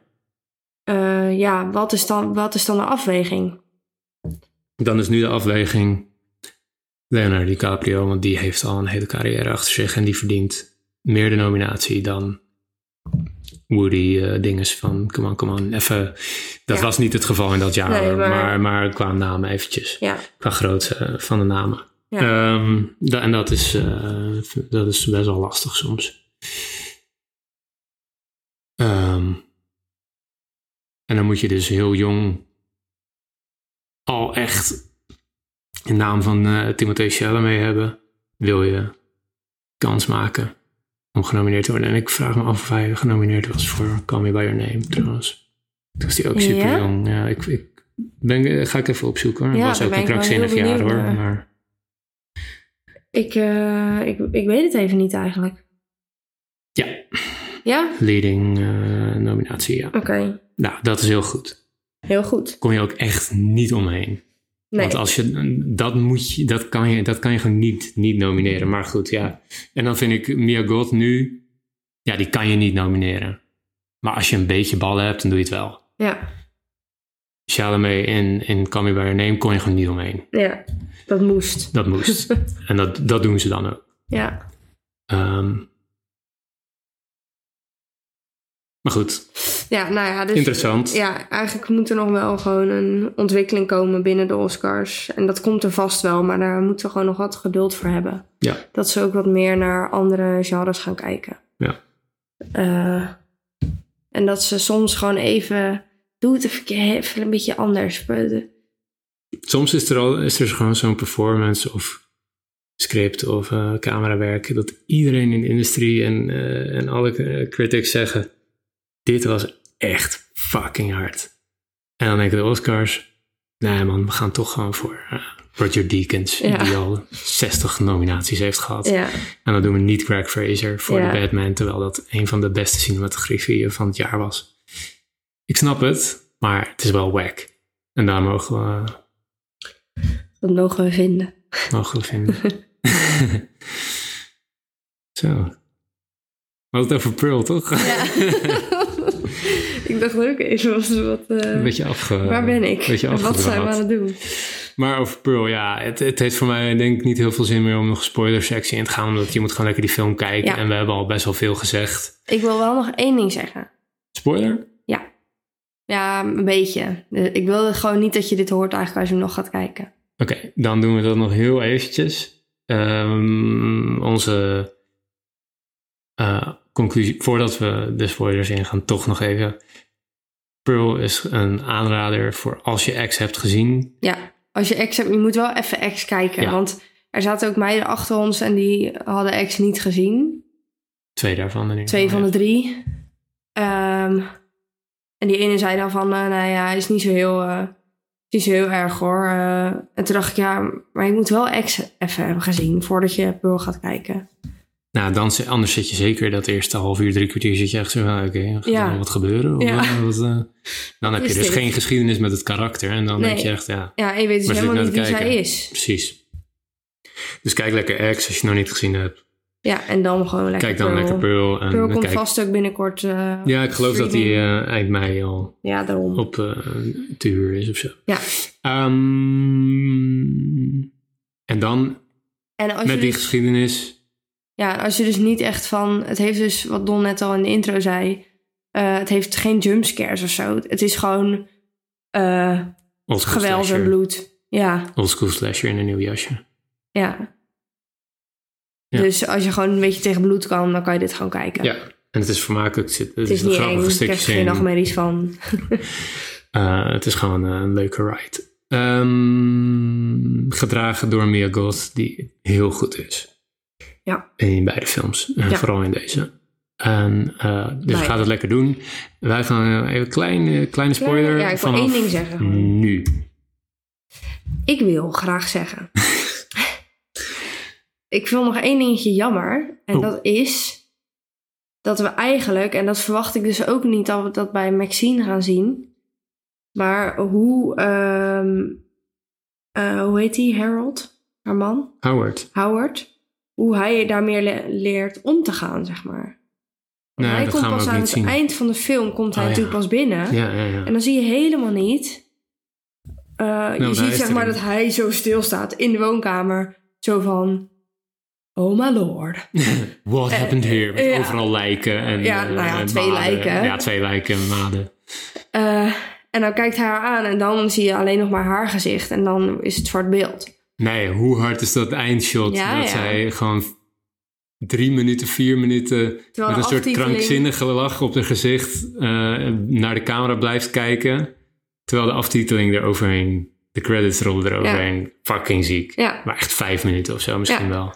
Speaker 2: eh, ja, wat is, dan, wat is dan de afweging?
Speaker 1: Dan is nu de afweging Leonardo DiCaprio, want die heeft al een hele carrière achter zich en die verdient meer de nominatie dan Woody eh dinges van come on, come on, even. Dat
Speaker 2: Ja.
Speaker 1: was niet het geval in dat jaar,
Speaker 2: Nee,
Speaker 1: maar...
Speaker 2: maar-
Speaker 1: Maar, qua namen eventjes,
Speaker 2: Ja,
Speaker 1: qua grootte van de namen.
Speaker 2: Ja.
Speaker 1: Ehm, da- en dat is, eh, dat is best wel lastig soms. Ehm, en dan moet je dus heel jong al echt de naam van eh Timothée Chalamet hebben. Wil je kans maken om genomineerd te worden? En ik vraag me af of hij genomineerd was voor Call Me By Your Name trouwens. Toen was hij ook
Speaker 2: Ja?
Speaker 1: super jong. Ja, ik, ik ben, eh, ga ik even opzoeken. hoor.
Speaker 2: Ja,
Speaker 1: Het was
Speaker 2: daar
Speaker 1: ook
Speaker 2: ben
Speaker 1: een
Speaker 2: ik wel heel
Speaker 1: krankzinnig jaar
Speaker 2: benieuwd
Speaker 1: hoor.
Speaker 2: naar.
Speaker 1: Maar
Speaker 2: ik, eh, ik, ik weet het even niet eigenlijk.
Speaker 1: ja,
Speaker 2: Ja?
Speaker 1: leading eh, nominatie, ja.
Speaker 2: Oké,
Speaker 1: Nou, dat is heel goed.
Speaker 2: heel goed.
Speaker 1: Kon je ook echt niet omheen.
Speaker 2: Nee,
Speaker 1: Want als je, dat, moet je, dat, kan je, dat kan je gewoon niet, niet nomineren. Maar goed, ja. En dan vind ik Mia Gold nu, ja, die kan je niet nomineren. Maar als je een beetje ballen hebt, dan doe je het wel.
Speaker 2: ja,
Speaker 1: Chalamet in, in Call Me By Your Name kon je gewoon niet omheen.
Speaker 2: ja, dat moest.
Speaker 1: Dat moest. en dat, dat doen ze dan ook.
Speaker 2: Ja,
Speaker 1: Ehm, maar goed,
Speaker 2: ja nou ja, dus...
Speaker 1: interessant.
Speaker 2: Ja, eigenlijk moet er nog wel gewoon een ontwikkeling komen binnen de Oscars. En dat komt er vast wel, maar daar moeten we gewoon nog wat geduld voor hebben.
Speaker 1: Ja.
Speaker 2: Dat ze ook wat meer naar andere genres gaan kijken.
Speaker 1: Ja.
Speaker 2: Eh, en dat ze soms gewoon even... Doe het even, even een beetje anders.
Speaker 1: Soms is er, al, is er gewoon zo'n performance of script of eh, camerawerk dat iedereen in de industrie en, eh, en alle eh, critics zeggen: Dit was echt fucking hard. En dan denken de Oscars: Nee, man, we gaan toch gewoon voor eh, Roger Deakins,
Speaker 2: Ja.
Speaker 1: die al 60 nominaties heeft gehad.
Speaker 2: Ja,
Speaker 1: En dan doen we niet Greg Fraser voor
Speaker 2: Ja.
Speaker 1: de Batman, terwijl dat een van de beste cinematografieën van het jaar was. Ik snap het, maar het is wel whack. En daar mogen we.
Speaker 2: dat mogen we vinden.
Speaker 1: mogen we vinden. Zo. We hadden het over Pearl, toch?
Speaker 2: ik dacht ook even wat... wat eh,
Speaker 1: Een beetje afge...
Speaker 2: waar ben ik?
Speaker 1: Beetje
Speaker 2: En wat zijn we
Speaker 1: afgedwaald.
Speaker 2: aan het doen?
Speaker 1: Maar over Pearl, ja. Het, het heeft voor mij denk ik niet heel veel zin meer om nog spoilersectie in te gaan. Omdat je moet gewoon lekker die film kijken.
Speaker 2: Ja.
Speaker 1: En we hebben al best wel veel gezegd.
Speaker 2: Ik wil wel nog één ding zeggen.
Speaker 1: Spoiler?
Speaker 2: Ja, een beetje. Eh, Ik wil gewoon niet dat je dit hoort eigenlijk als je hem nog gaat kijken.
Speaker 1: Oké, dan doen we dat nog heel eventjes. Ehm, onze eh, conclusie, voordat we de spoilers ingaan, toch nog even. Pearl is een aanrader voor als je ex hebt gezien.
Speaker 2: Ja, als je ex hebt, je moet wel even ex kijken.
Speaker 1: Ja.
Speaker 2: Want er zaten ook meiden achter ons en die hadden ex niet gezien.
Speaker 1: Twee daarvan. in ieder
Speaker 2: Twee
Speaker 1: geval,
Speaker 2: van de
Speaker 1: Oh, ja.
Speaker 2: drie. Ehm, en die ene zei dan van, eh, nou ja, hij is niet zo heel, eh, is niet zo heel erg hoor. Eh, en toen dacht ik, ja, maar je moet wel ex even hebben gezien voordat je Pearl gaat kijken.
Speaker 1: Nou, dan, zi- anders zit je zeker dat eerste half uur, drie kwartier zit je echt zo van, oké, gaat
Speaker 2: Ja.
Speaker 1: er nog wat gebeuren? Of,
Speaker 2: Ja.
Speaker 1: eh, wat, eh? dan heb
Speaker 2: Is
Speaker 1: je dus
Speaker 2: dit?
Speaker 1: geen geschiedenis met het karakter. En dan denk
Speaker 2: Nee.
Speaker 1: je echt, ja,
Speaker 2: Ja, en je weet dus
Speaker 1: Maar zit ik
Speaker 2: helemaal
Speaker 1: nou
Speaker 2: niet
Speaker 1: te
Speaker 2: wie zij
Speaker 1: kijken?
Speaker 2: is.
Speaker 1: precies. Dus kijk lekker ex als je het nog niet gezien hebt.
Speaker 2: Ja, en dan gewoon lekker
Speaker 1: Kijk dan lekker Pearl. En
Speaker 2: Pearl komt
Speaker 1: kijk,
Speaker 2: vast ook binnenkort. eh,
Speaker 1: Ja, ik geloof dat die
Speaker 2: streaming.
Speaker 1: eh, eind mei al
Speaker 2: Ja, daarom.
Speaker 1: op eh te huur is of zo.
Speaker 2: Ja.
Speaker 1: Ehm, en dan
Speaker 2: En als, je
Speaker 1: met die
Speaker 2: dus,
Speaker 1: geschiedenis.
Speaker 2: ja, als je dus niet echt van... Het heeft dus, wat Don net al in de intro zei... eh, het heeft geen jumpscares of zo. Het is gewoon eh
Speaker 1: Oldschool
Speaker 2: geweld en
Speaker 1: slasher.
Speaker 2: bloed. Ja,
Speaker 1: Oldschool slasher in een nieuw jasje.
Speaker 2: ja,
Speaker 1: Ja.
Speaker 2: Dus als je gewoon een beetje tegen bloed kan, dan kan je dit gewoon kijken.
Speaker 1: Ja. En het is vermakelijk. Het, zit, het,
Speaker 2: Het
Speaker 1: is
Speaker 2: is
Speaker 1: een
Speaker 2: niet eng,
Speaker 1: grappige
Speaker 2: ik
Speaker 1: stukje
Speaker 2: krijg geen
Speaker 1: zin.
Speaker 2: nachtmerries van.
Speaker 1: Eh, het is gewoon eh, een leuke ride. Ehm, gedragen door Mia Goth, die heel goed is.
Speaker 2: Ja.
Speaker 1: In beide films. En
Speaker 2: Ja.
Speaker 1: vooral in deze. En, eh, dus
Speaker 2: Beide.
Speaker 1: gaat het lekker doen. Wij gaan eh, even een kleine, kleine spoiler.
Speaker 2: ja, ik wil
Speaker 1: vanaf
Speaker 2: één ding zeggen.
Speaker 1: Nu.
Speaker 2: Ik wil graag zeggen... Ik vind nog één dingetje jammer. En
Speaker 1: Oh.
Speaker 2: dat is dat we eigenlijk, en dat verwacht ik dus ook niet dat we dat bij Maxine gaan zien. Maar hoe, ehm, eh, hoe heet die? Harold, haar man?
Speaker 1: Howard.
Speaker 2: Howard, hoe hij daar meer le- leert om te gaan, zeg maar. Want
Speaker 1: Nee,
Speaker 2: hij
Speaker 1: Nou, dat
Speaker 2: komt
Speaker 1: gaan we
Speaker 2: pas
Speaker 1: ook
Speaker 2: aan
Speaker 1: niet
Speaker 2: het
Speaker 1: zien.
Speaker 2: eind van de film, komt hij
Speaker 1: Oh, ja.
Speaker 2: natuurlijk pas binnen.
Speaker 1: Ja, ja, ja.
Speaker 2: En dan zie je helemaal niet. eh, je
Speaker 1: daar
Speaker 2: ziet
Speaker 1: is
Speaker 2: zeg
Speaker 1: hij
Speaker 2: maar
Speaker 1: dan.
Speaker 2: dat hij zo stilstaat in de woonkamer. Zo van, oh my lord.
Speaker 1: What
Speaker 2: Eh,
Speaker 1: happened here? Met
Speaker 2: ja.
Speaker 1: overal lijken en
Speaker 2: Ja,
Speaker 1: eh,
Speaker 2: nou ja,
Speaker 1: en
Speaker 2: twee
Speaker 1: maden.
Speaker 2: lijken.
Speaker 1: Ja, twee lijken en maden.
Speaker 2: Eh, en dan kijkt hij haar aan en dan zie je alleen nog maar haar gezicht. En dan is het zwart beeld.
Speaker 1: Nee, hoe hard is dat eindshot?
Speaker 2: Ja,
Speaker 1: dat
Speaker 2: ja.
Speaker 1: zij gewoon drie minuten, vier minuten met
Speaker 2: de
Speaker 1: een soort
Speaker 2: aftiteling-
Speaker 1: krankzinnige lach op haar gezicht eh, naar de camera blijft kijken. Terwijl de aftiteling eroverheen, de credits rollen eroverheen. Fucking ziek.
Speaker 2: Ja,
Speaker 1: Maar echt vijf minuten of zo misschien
Speaker 2: Ja.
Speaker 1: wel.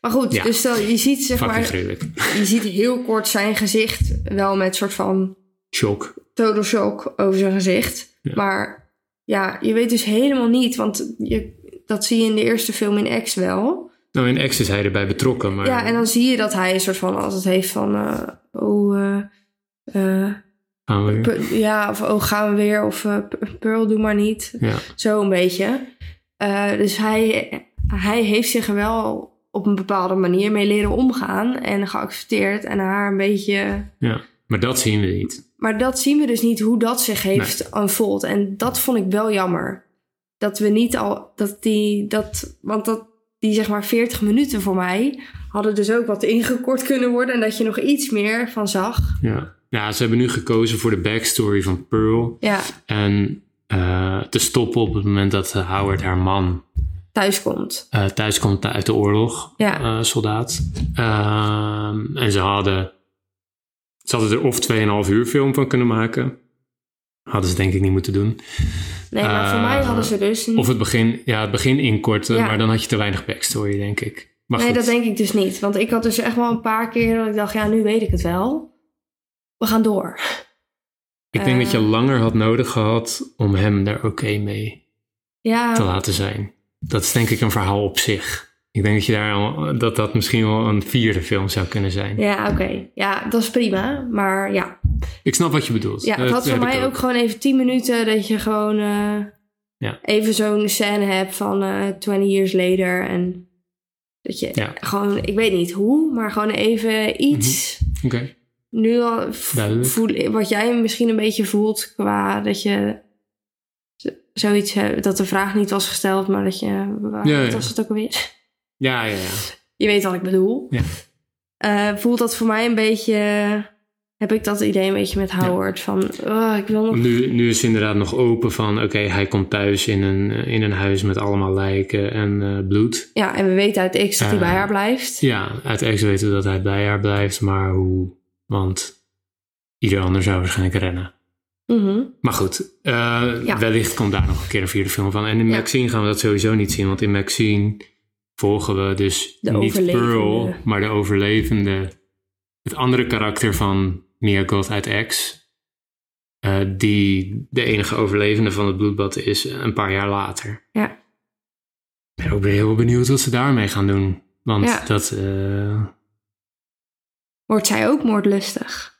Speaker 2: maar goed,
Speaker 1: Ja.
Speaker 2: dus stel, je ziet zeg
Speaker 1: Fucking
Speaker 2: maar,
Speaker 1: gruwelijk.
Speaker 2: je ziet heel kort zijn gezicht wel met soort van
Speaker 1: Shock.
Speaker 2: total shock over zijn gezicht.
Speaker 1: Ja.
Speaker 2: Maar ja, je weet dus helemaal niet, want je, dat zie je in de eerste film in X wel.
Speaker 1: Nou, in X is hij erbij betrokken, maar...
Speaker 2: Ja, en dan zie je dat hij een soort van altijd heeft van, eh, oh, eh, eh,
Speaker 1: gaan we weer.
Speaker 2: Pe- ja, of oh, gaan we weer, of eh, Pe- Pearl, doe maar niet.
Speaker 1: Ja.
Speaker 2: Zo een beetje. Eh, dus hij, hij heeft zich er wel op een bepaalde manier mee leren omgaan en geaccepteerd en haar een beetje
Speaker 1: ja, maar dat zien we niet.
Speaker 2: maar dat zien we dus niet hoe dat zich heeft unfold. En dat vond ik wel jammer. Dat we niet al, dat die, dat, want dat, die zeg maar 40 minuten voor mij hadden dus ook wat ingekort kunnen worden. En dat je nog iets meer van zag.
Speaker 1: Ja. ja, ze hebben nu gekozen voor de backstory van Pearl.
Speaker 2: Ja,
Speaker 1: En eh, te stoppen op het moment dat eh, Howard haar man
Speaker 2: thuis komt.
Speaker 1: eh thuis komt uit de oorlog,
Speaker 2: Ja.
Speaker 1: eh, soldaat. Ehm, en ze hadden, ze hadden er of 2,5 uur film van kunnen maken. Hadden ze denk ik niet moeten doen.
Speaker 2: Nee, maar voor
Speaker 1: Eh,
Speaker 2: mij hadden ze dus.
Speaker 1: Of het begin, ja, het begin inkorten,
Speaker 2: Ja.
Speaker 1: maar dan had je te weinig backstory, denk ik. Maar
Speaker 2: nee,
Speaker 1: goed,
Speaker 2: dat denk ik dus niet. Want ik had dus echt wel een paar keer dat ik dacht, ja, nu weet ik het wel. We gaan door.
Speaker 1: ik denk
Speaker 2: eh,
Speaker 1: dat je langer had nodig gehad om hem daar oké mee
Speaker 2: Ja,
Speaker 1: te laten zijn. Dat is denk ik een verhaal op zich. Ik denk dat, je daar al, dat dat misschien wel een vierde film zou kunnen zijn.
Speaker 2: ja oké. Ja, dat is prima. Maar ja,
Speaker 1: Ik snap wat je bedoelt. Eh,
Speaker 2: Ja, het
Speaker 1: Dat
Speaker 2: had voor
Speaker 1: heb ik
Speaker 2: mij ook. gewoon even 10 minuten dat je gewoon eh,
Speaker 1: Ja.
Speaker 2: even zo'n scène hebt van eh 20 years later. En dat je
Speaker 1: Ja.
Speaker 2: gewoon, ik weet niet hoe, maar gewoon even iets.
Speaker 1: Oké,
Speaker 2: Nu al v-
Speaker 1: Mhm. Duidelijk.
Speaker 2: voel, wat jij misschien een beetje voelt qua dat je z- zoiets hebt, dat de vraag niet was gesteld, maar dat je, waar
Speaker 1: Ja, ja.
Speaker 2: was het ook alweer?
Speaker 1: ja, ja, ja.
Speaker 2: Je weet wat ik bedoel.
Speaker 1: Ja.
Speaker 2: Eh, voelt dat voor mij een beetje, heb ik dat idee een beetje met Howard van, oh, ik wil nog
Speaker 1: Nu, nu is het inderdaad nog open van, oké, hij komt thuis in een, eh, in een huis met allemaal lijken en eh, bloed.
Speaker 2: Ja, en we weten uit X dat hij
Speaker 1: Eh,
Speaker 2: bij haar blijft.
Speaker 1: Ja, uit X weten we dat hij bij haar blijft, maar hoe? Want ieder ander zou waarschijnlijk rennen.
Speaker 2: Mhm.
Speaker 1: Maar goed, eh, wellicht komt daar nog een keer een vierde film van. En in
Speaker 2: Ja.
Speaker 1: Maxine gaan we dat sowieso niet zien, want in Maxine volgen we dus
Speaker 2: De
Speaker 1: niet
Speaker 2: overlevende.
Speaker 1: Pearl, maar de overlevende. Het andere karakter van Mia God uit X, eh, die de enige overlevende van het bloedbad is eh, een paar jaar later.
Speaker 2: Ja.
Speaker 1: Ik ben ook weer heel benieuwd wat ze daarmee gaan doen. Want
Speaker 2: Ja.
Speaker 1: dat, eh,
Speaker 2: Wordt zij ook moordlustig?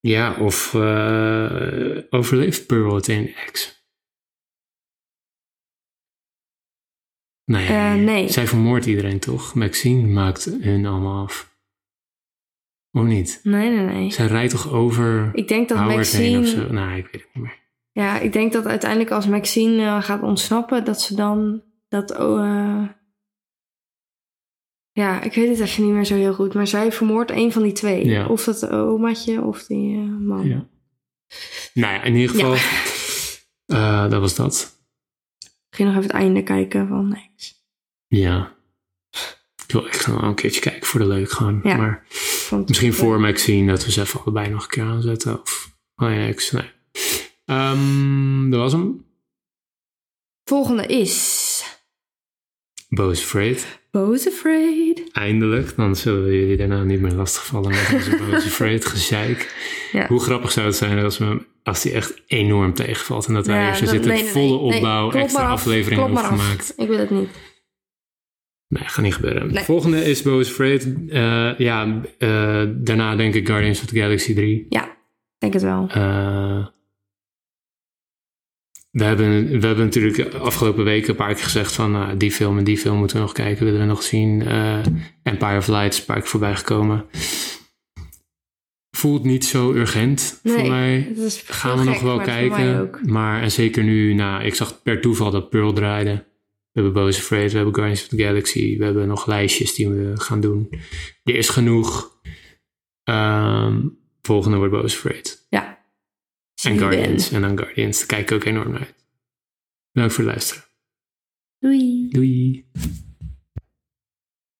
Speaker 1: ja, of eh, overleeft Pearl het in X? Nee.
Speaker 2: Eh, nee.
Speaker 1: Zij vermoordt iedereen toch? Maxine maakt hun allemaal af. Of niet?
Speaker 2: Nee, nee, nee.
Speaker 1: Zij rijdt toch over
Speaker 2: Ik denk dat
Speaker 1: Howard heen of
Speaker 2: Maxine...
Speaker 1: zo? Nou, ik weet het niet meer.
Speaker 2: Ja, ik denk dat uiteindelijk als Maxine eh, gaat ontsnappen, dat ze dan dat... oh, eh, ja, ik weet het even niet meer zo heel goed. Maar zij vermoordt een van die twee.
Speaker 1: Ja.
Speaker 2: Of dat omaatje of die eh, man.
Speaker 1: Ja. Nou ja, in ieder geval,
Speaker 2: Ja.
Speaker 1: eh, dat was dat.
Speaker 2: Ik ging nog even het einde kijken van X.
Speaker 1: Ja. Ik wil echt nog een keertje kijken voor de leuk gewoon.
Speaker 2: Ja.
Speaker 1: Maar
Speaker 2: Vond-
Speaker 1: misschien voor Maxine dat we ze even allebei nog een keer aanzetten. Of oh ja, ik, nee. Ehm, dat was hem.
Speaker 2: Volgende is...
Speaker 1: Boos Afraid.
Speaker 2: Bo's Afraid.
Speaker 1: Eindelijk. Dan zullen we jullie daarna niet meer lastigvallen met onze Boos Afraid gezeik.
Speaker 2: Ja.
Speaker 1: Hoe grappig zou het zijn als, we, hem- als die echt enorm tegenvalt. En dat wij
Speaker 2: Ja,
Speaker 1: hier zo
Speaker 2: dat-
Speaker 1: zitten
Speaker 2: nee, nee, nee.
Speaker 1: volle
Speaker 2: Nee,
Speaker 1: opbouw,
Speaker 2: klop
Speaker 1: extra
Speaker 2: maar af,
Speaker 1: aflevering
Speaker 2: klop
Speaker 1: hebben
Speaker 2: maar af.
Speaker 1: gemaakt.
Speaker 2: Ik wil het niet.
Speaker 1: Nee, gaat niet gebeuren.
Speaker 2: Nee.
Speaker 1: Volgende is Bo's Afraid. Eh, ja, eh, daarna denk ik Guardians of the Galaxy 3.
Speaker 2: denk het wel.
Speaker 1: Eh, we, hebben, we hebben natuurlijk de afgelopen weken een paar keer gezegd van... nou, die film en die film moeten we nog kijken, willen we nog zien. Eh, Empire of Light is een paar keer voorbij gekomen. Voelt niet zo urgent voor
Speaker 2: Nee.
Speaker 1: mij.
Speaker 2: Dat is
Speaker 1: Gaan we
Speaker 2: heel
Speaker 1: nog
Speaker 2: gek,
Speaker 1: wel
Speaker 2: maar voor mij
Speaker 1: kijken.
Speaker 2: ook.
Speaker 1: Maar en zeker nu, nou, ik zag per toeval dat Pearl draaide. We hebben Bo's Afraid, we hebben Guardians of the Galaxy. We hebben nog lijstjes die we gaan doen. Er is genoeg. Ehm, volgende wordt Bo's Afraid.
Speaker 2: Ja.
Speaker 1: En dus-
Speaker 2: Steven.
Speaker 1: Guardians. En dan Guardians. Daar kijk ik ook enorm naar uit. Bedankt voor het luisteren.
Speaker 2: Doei.
Speaker 1: Doei.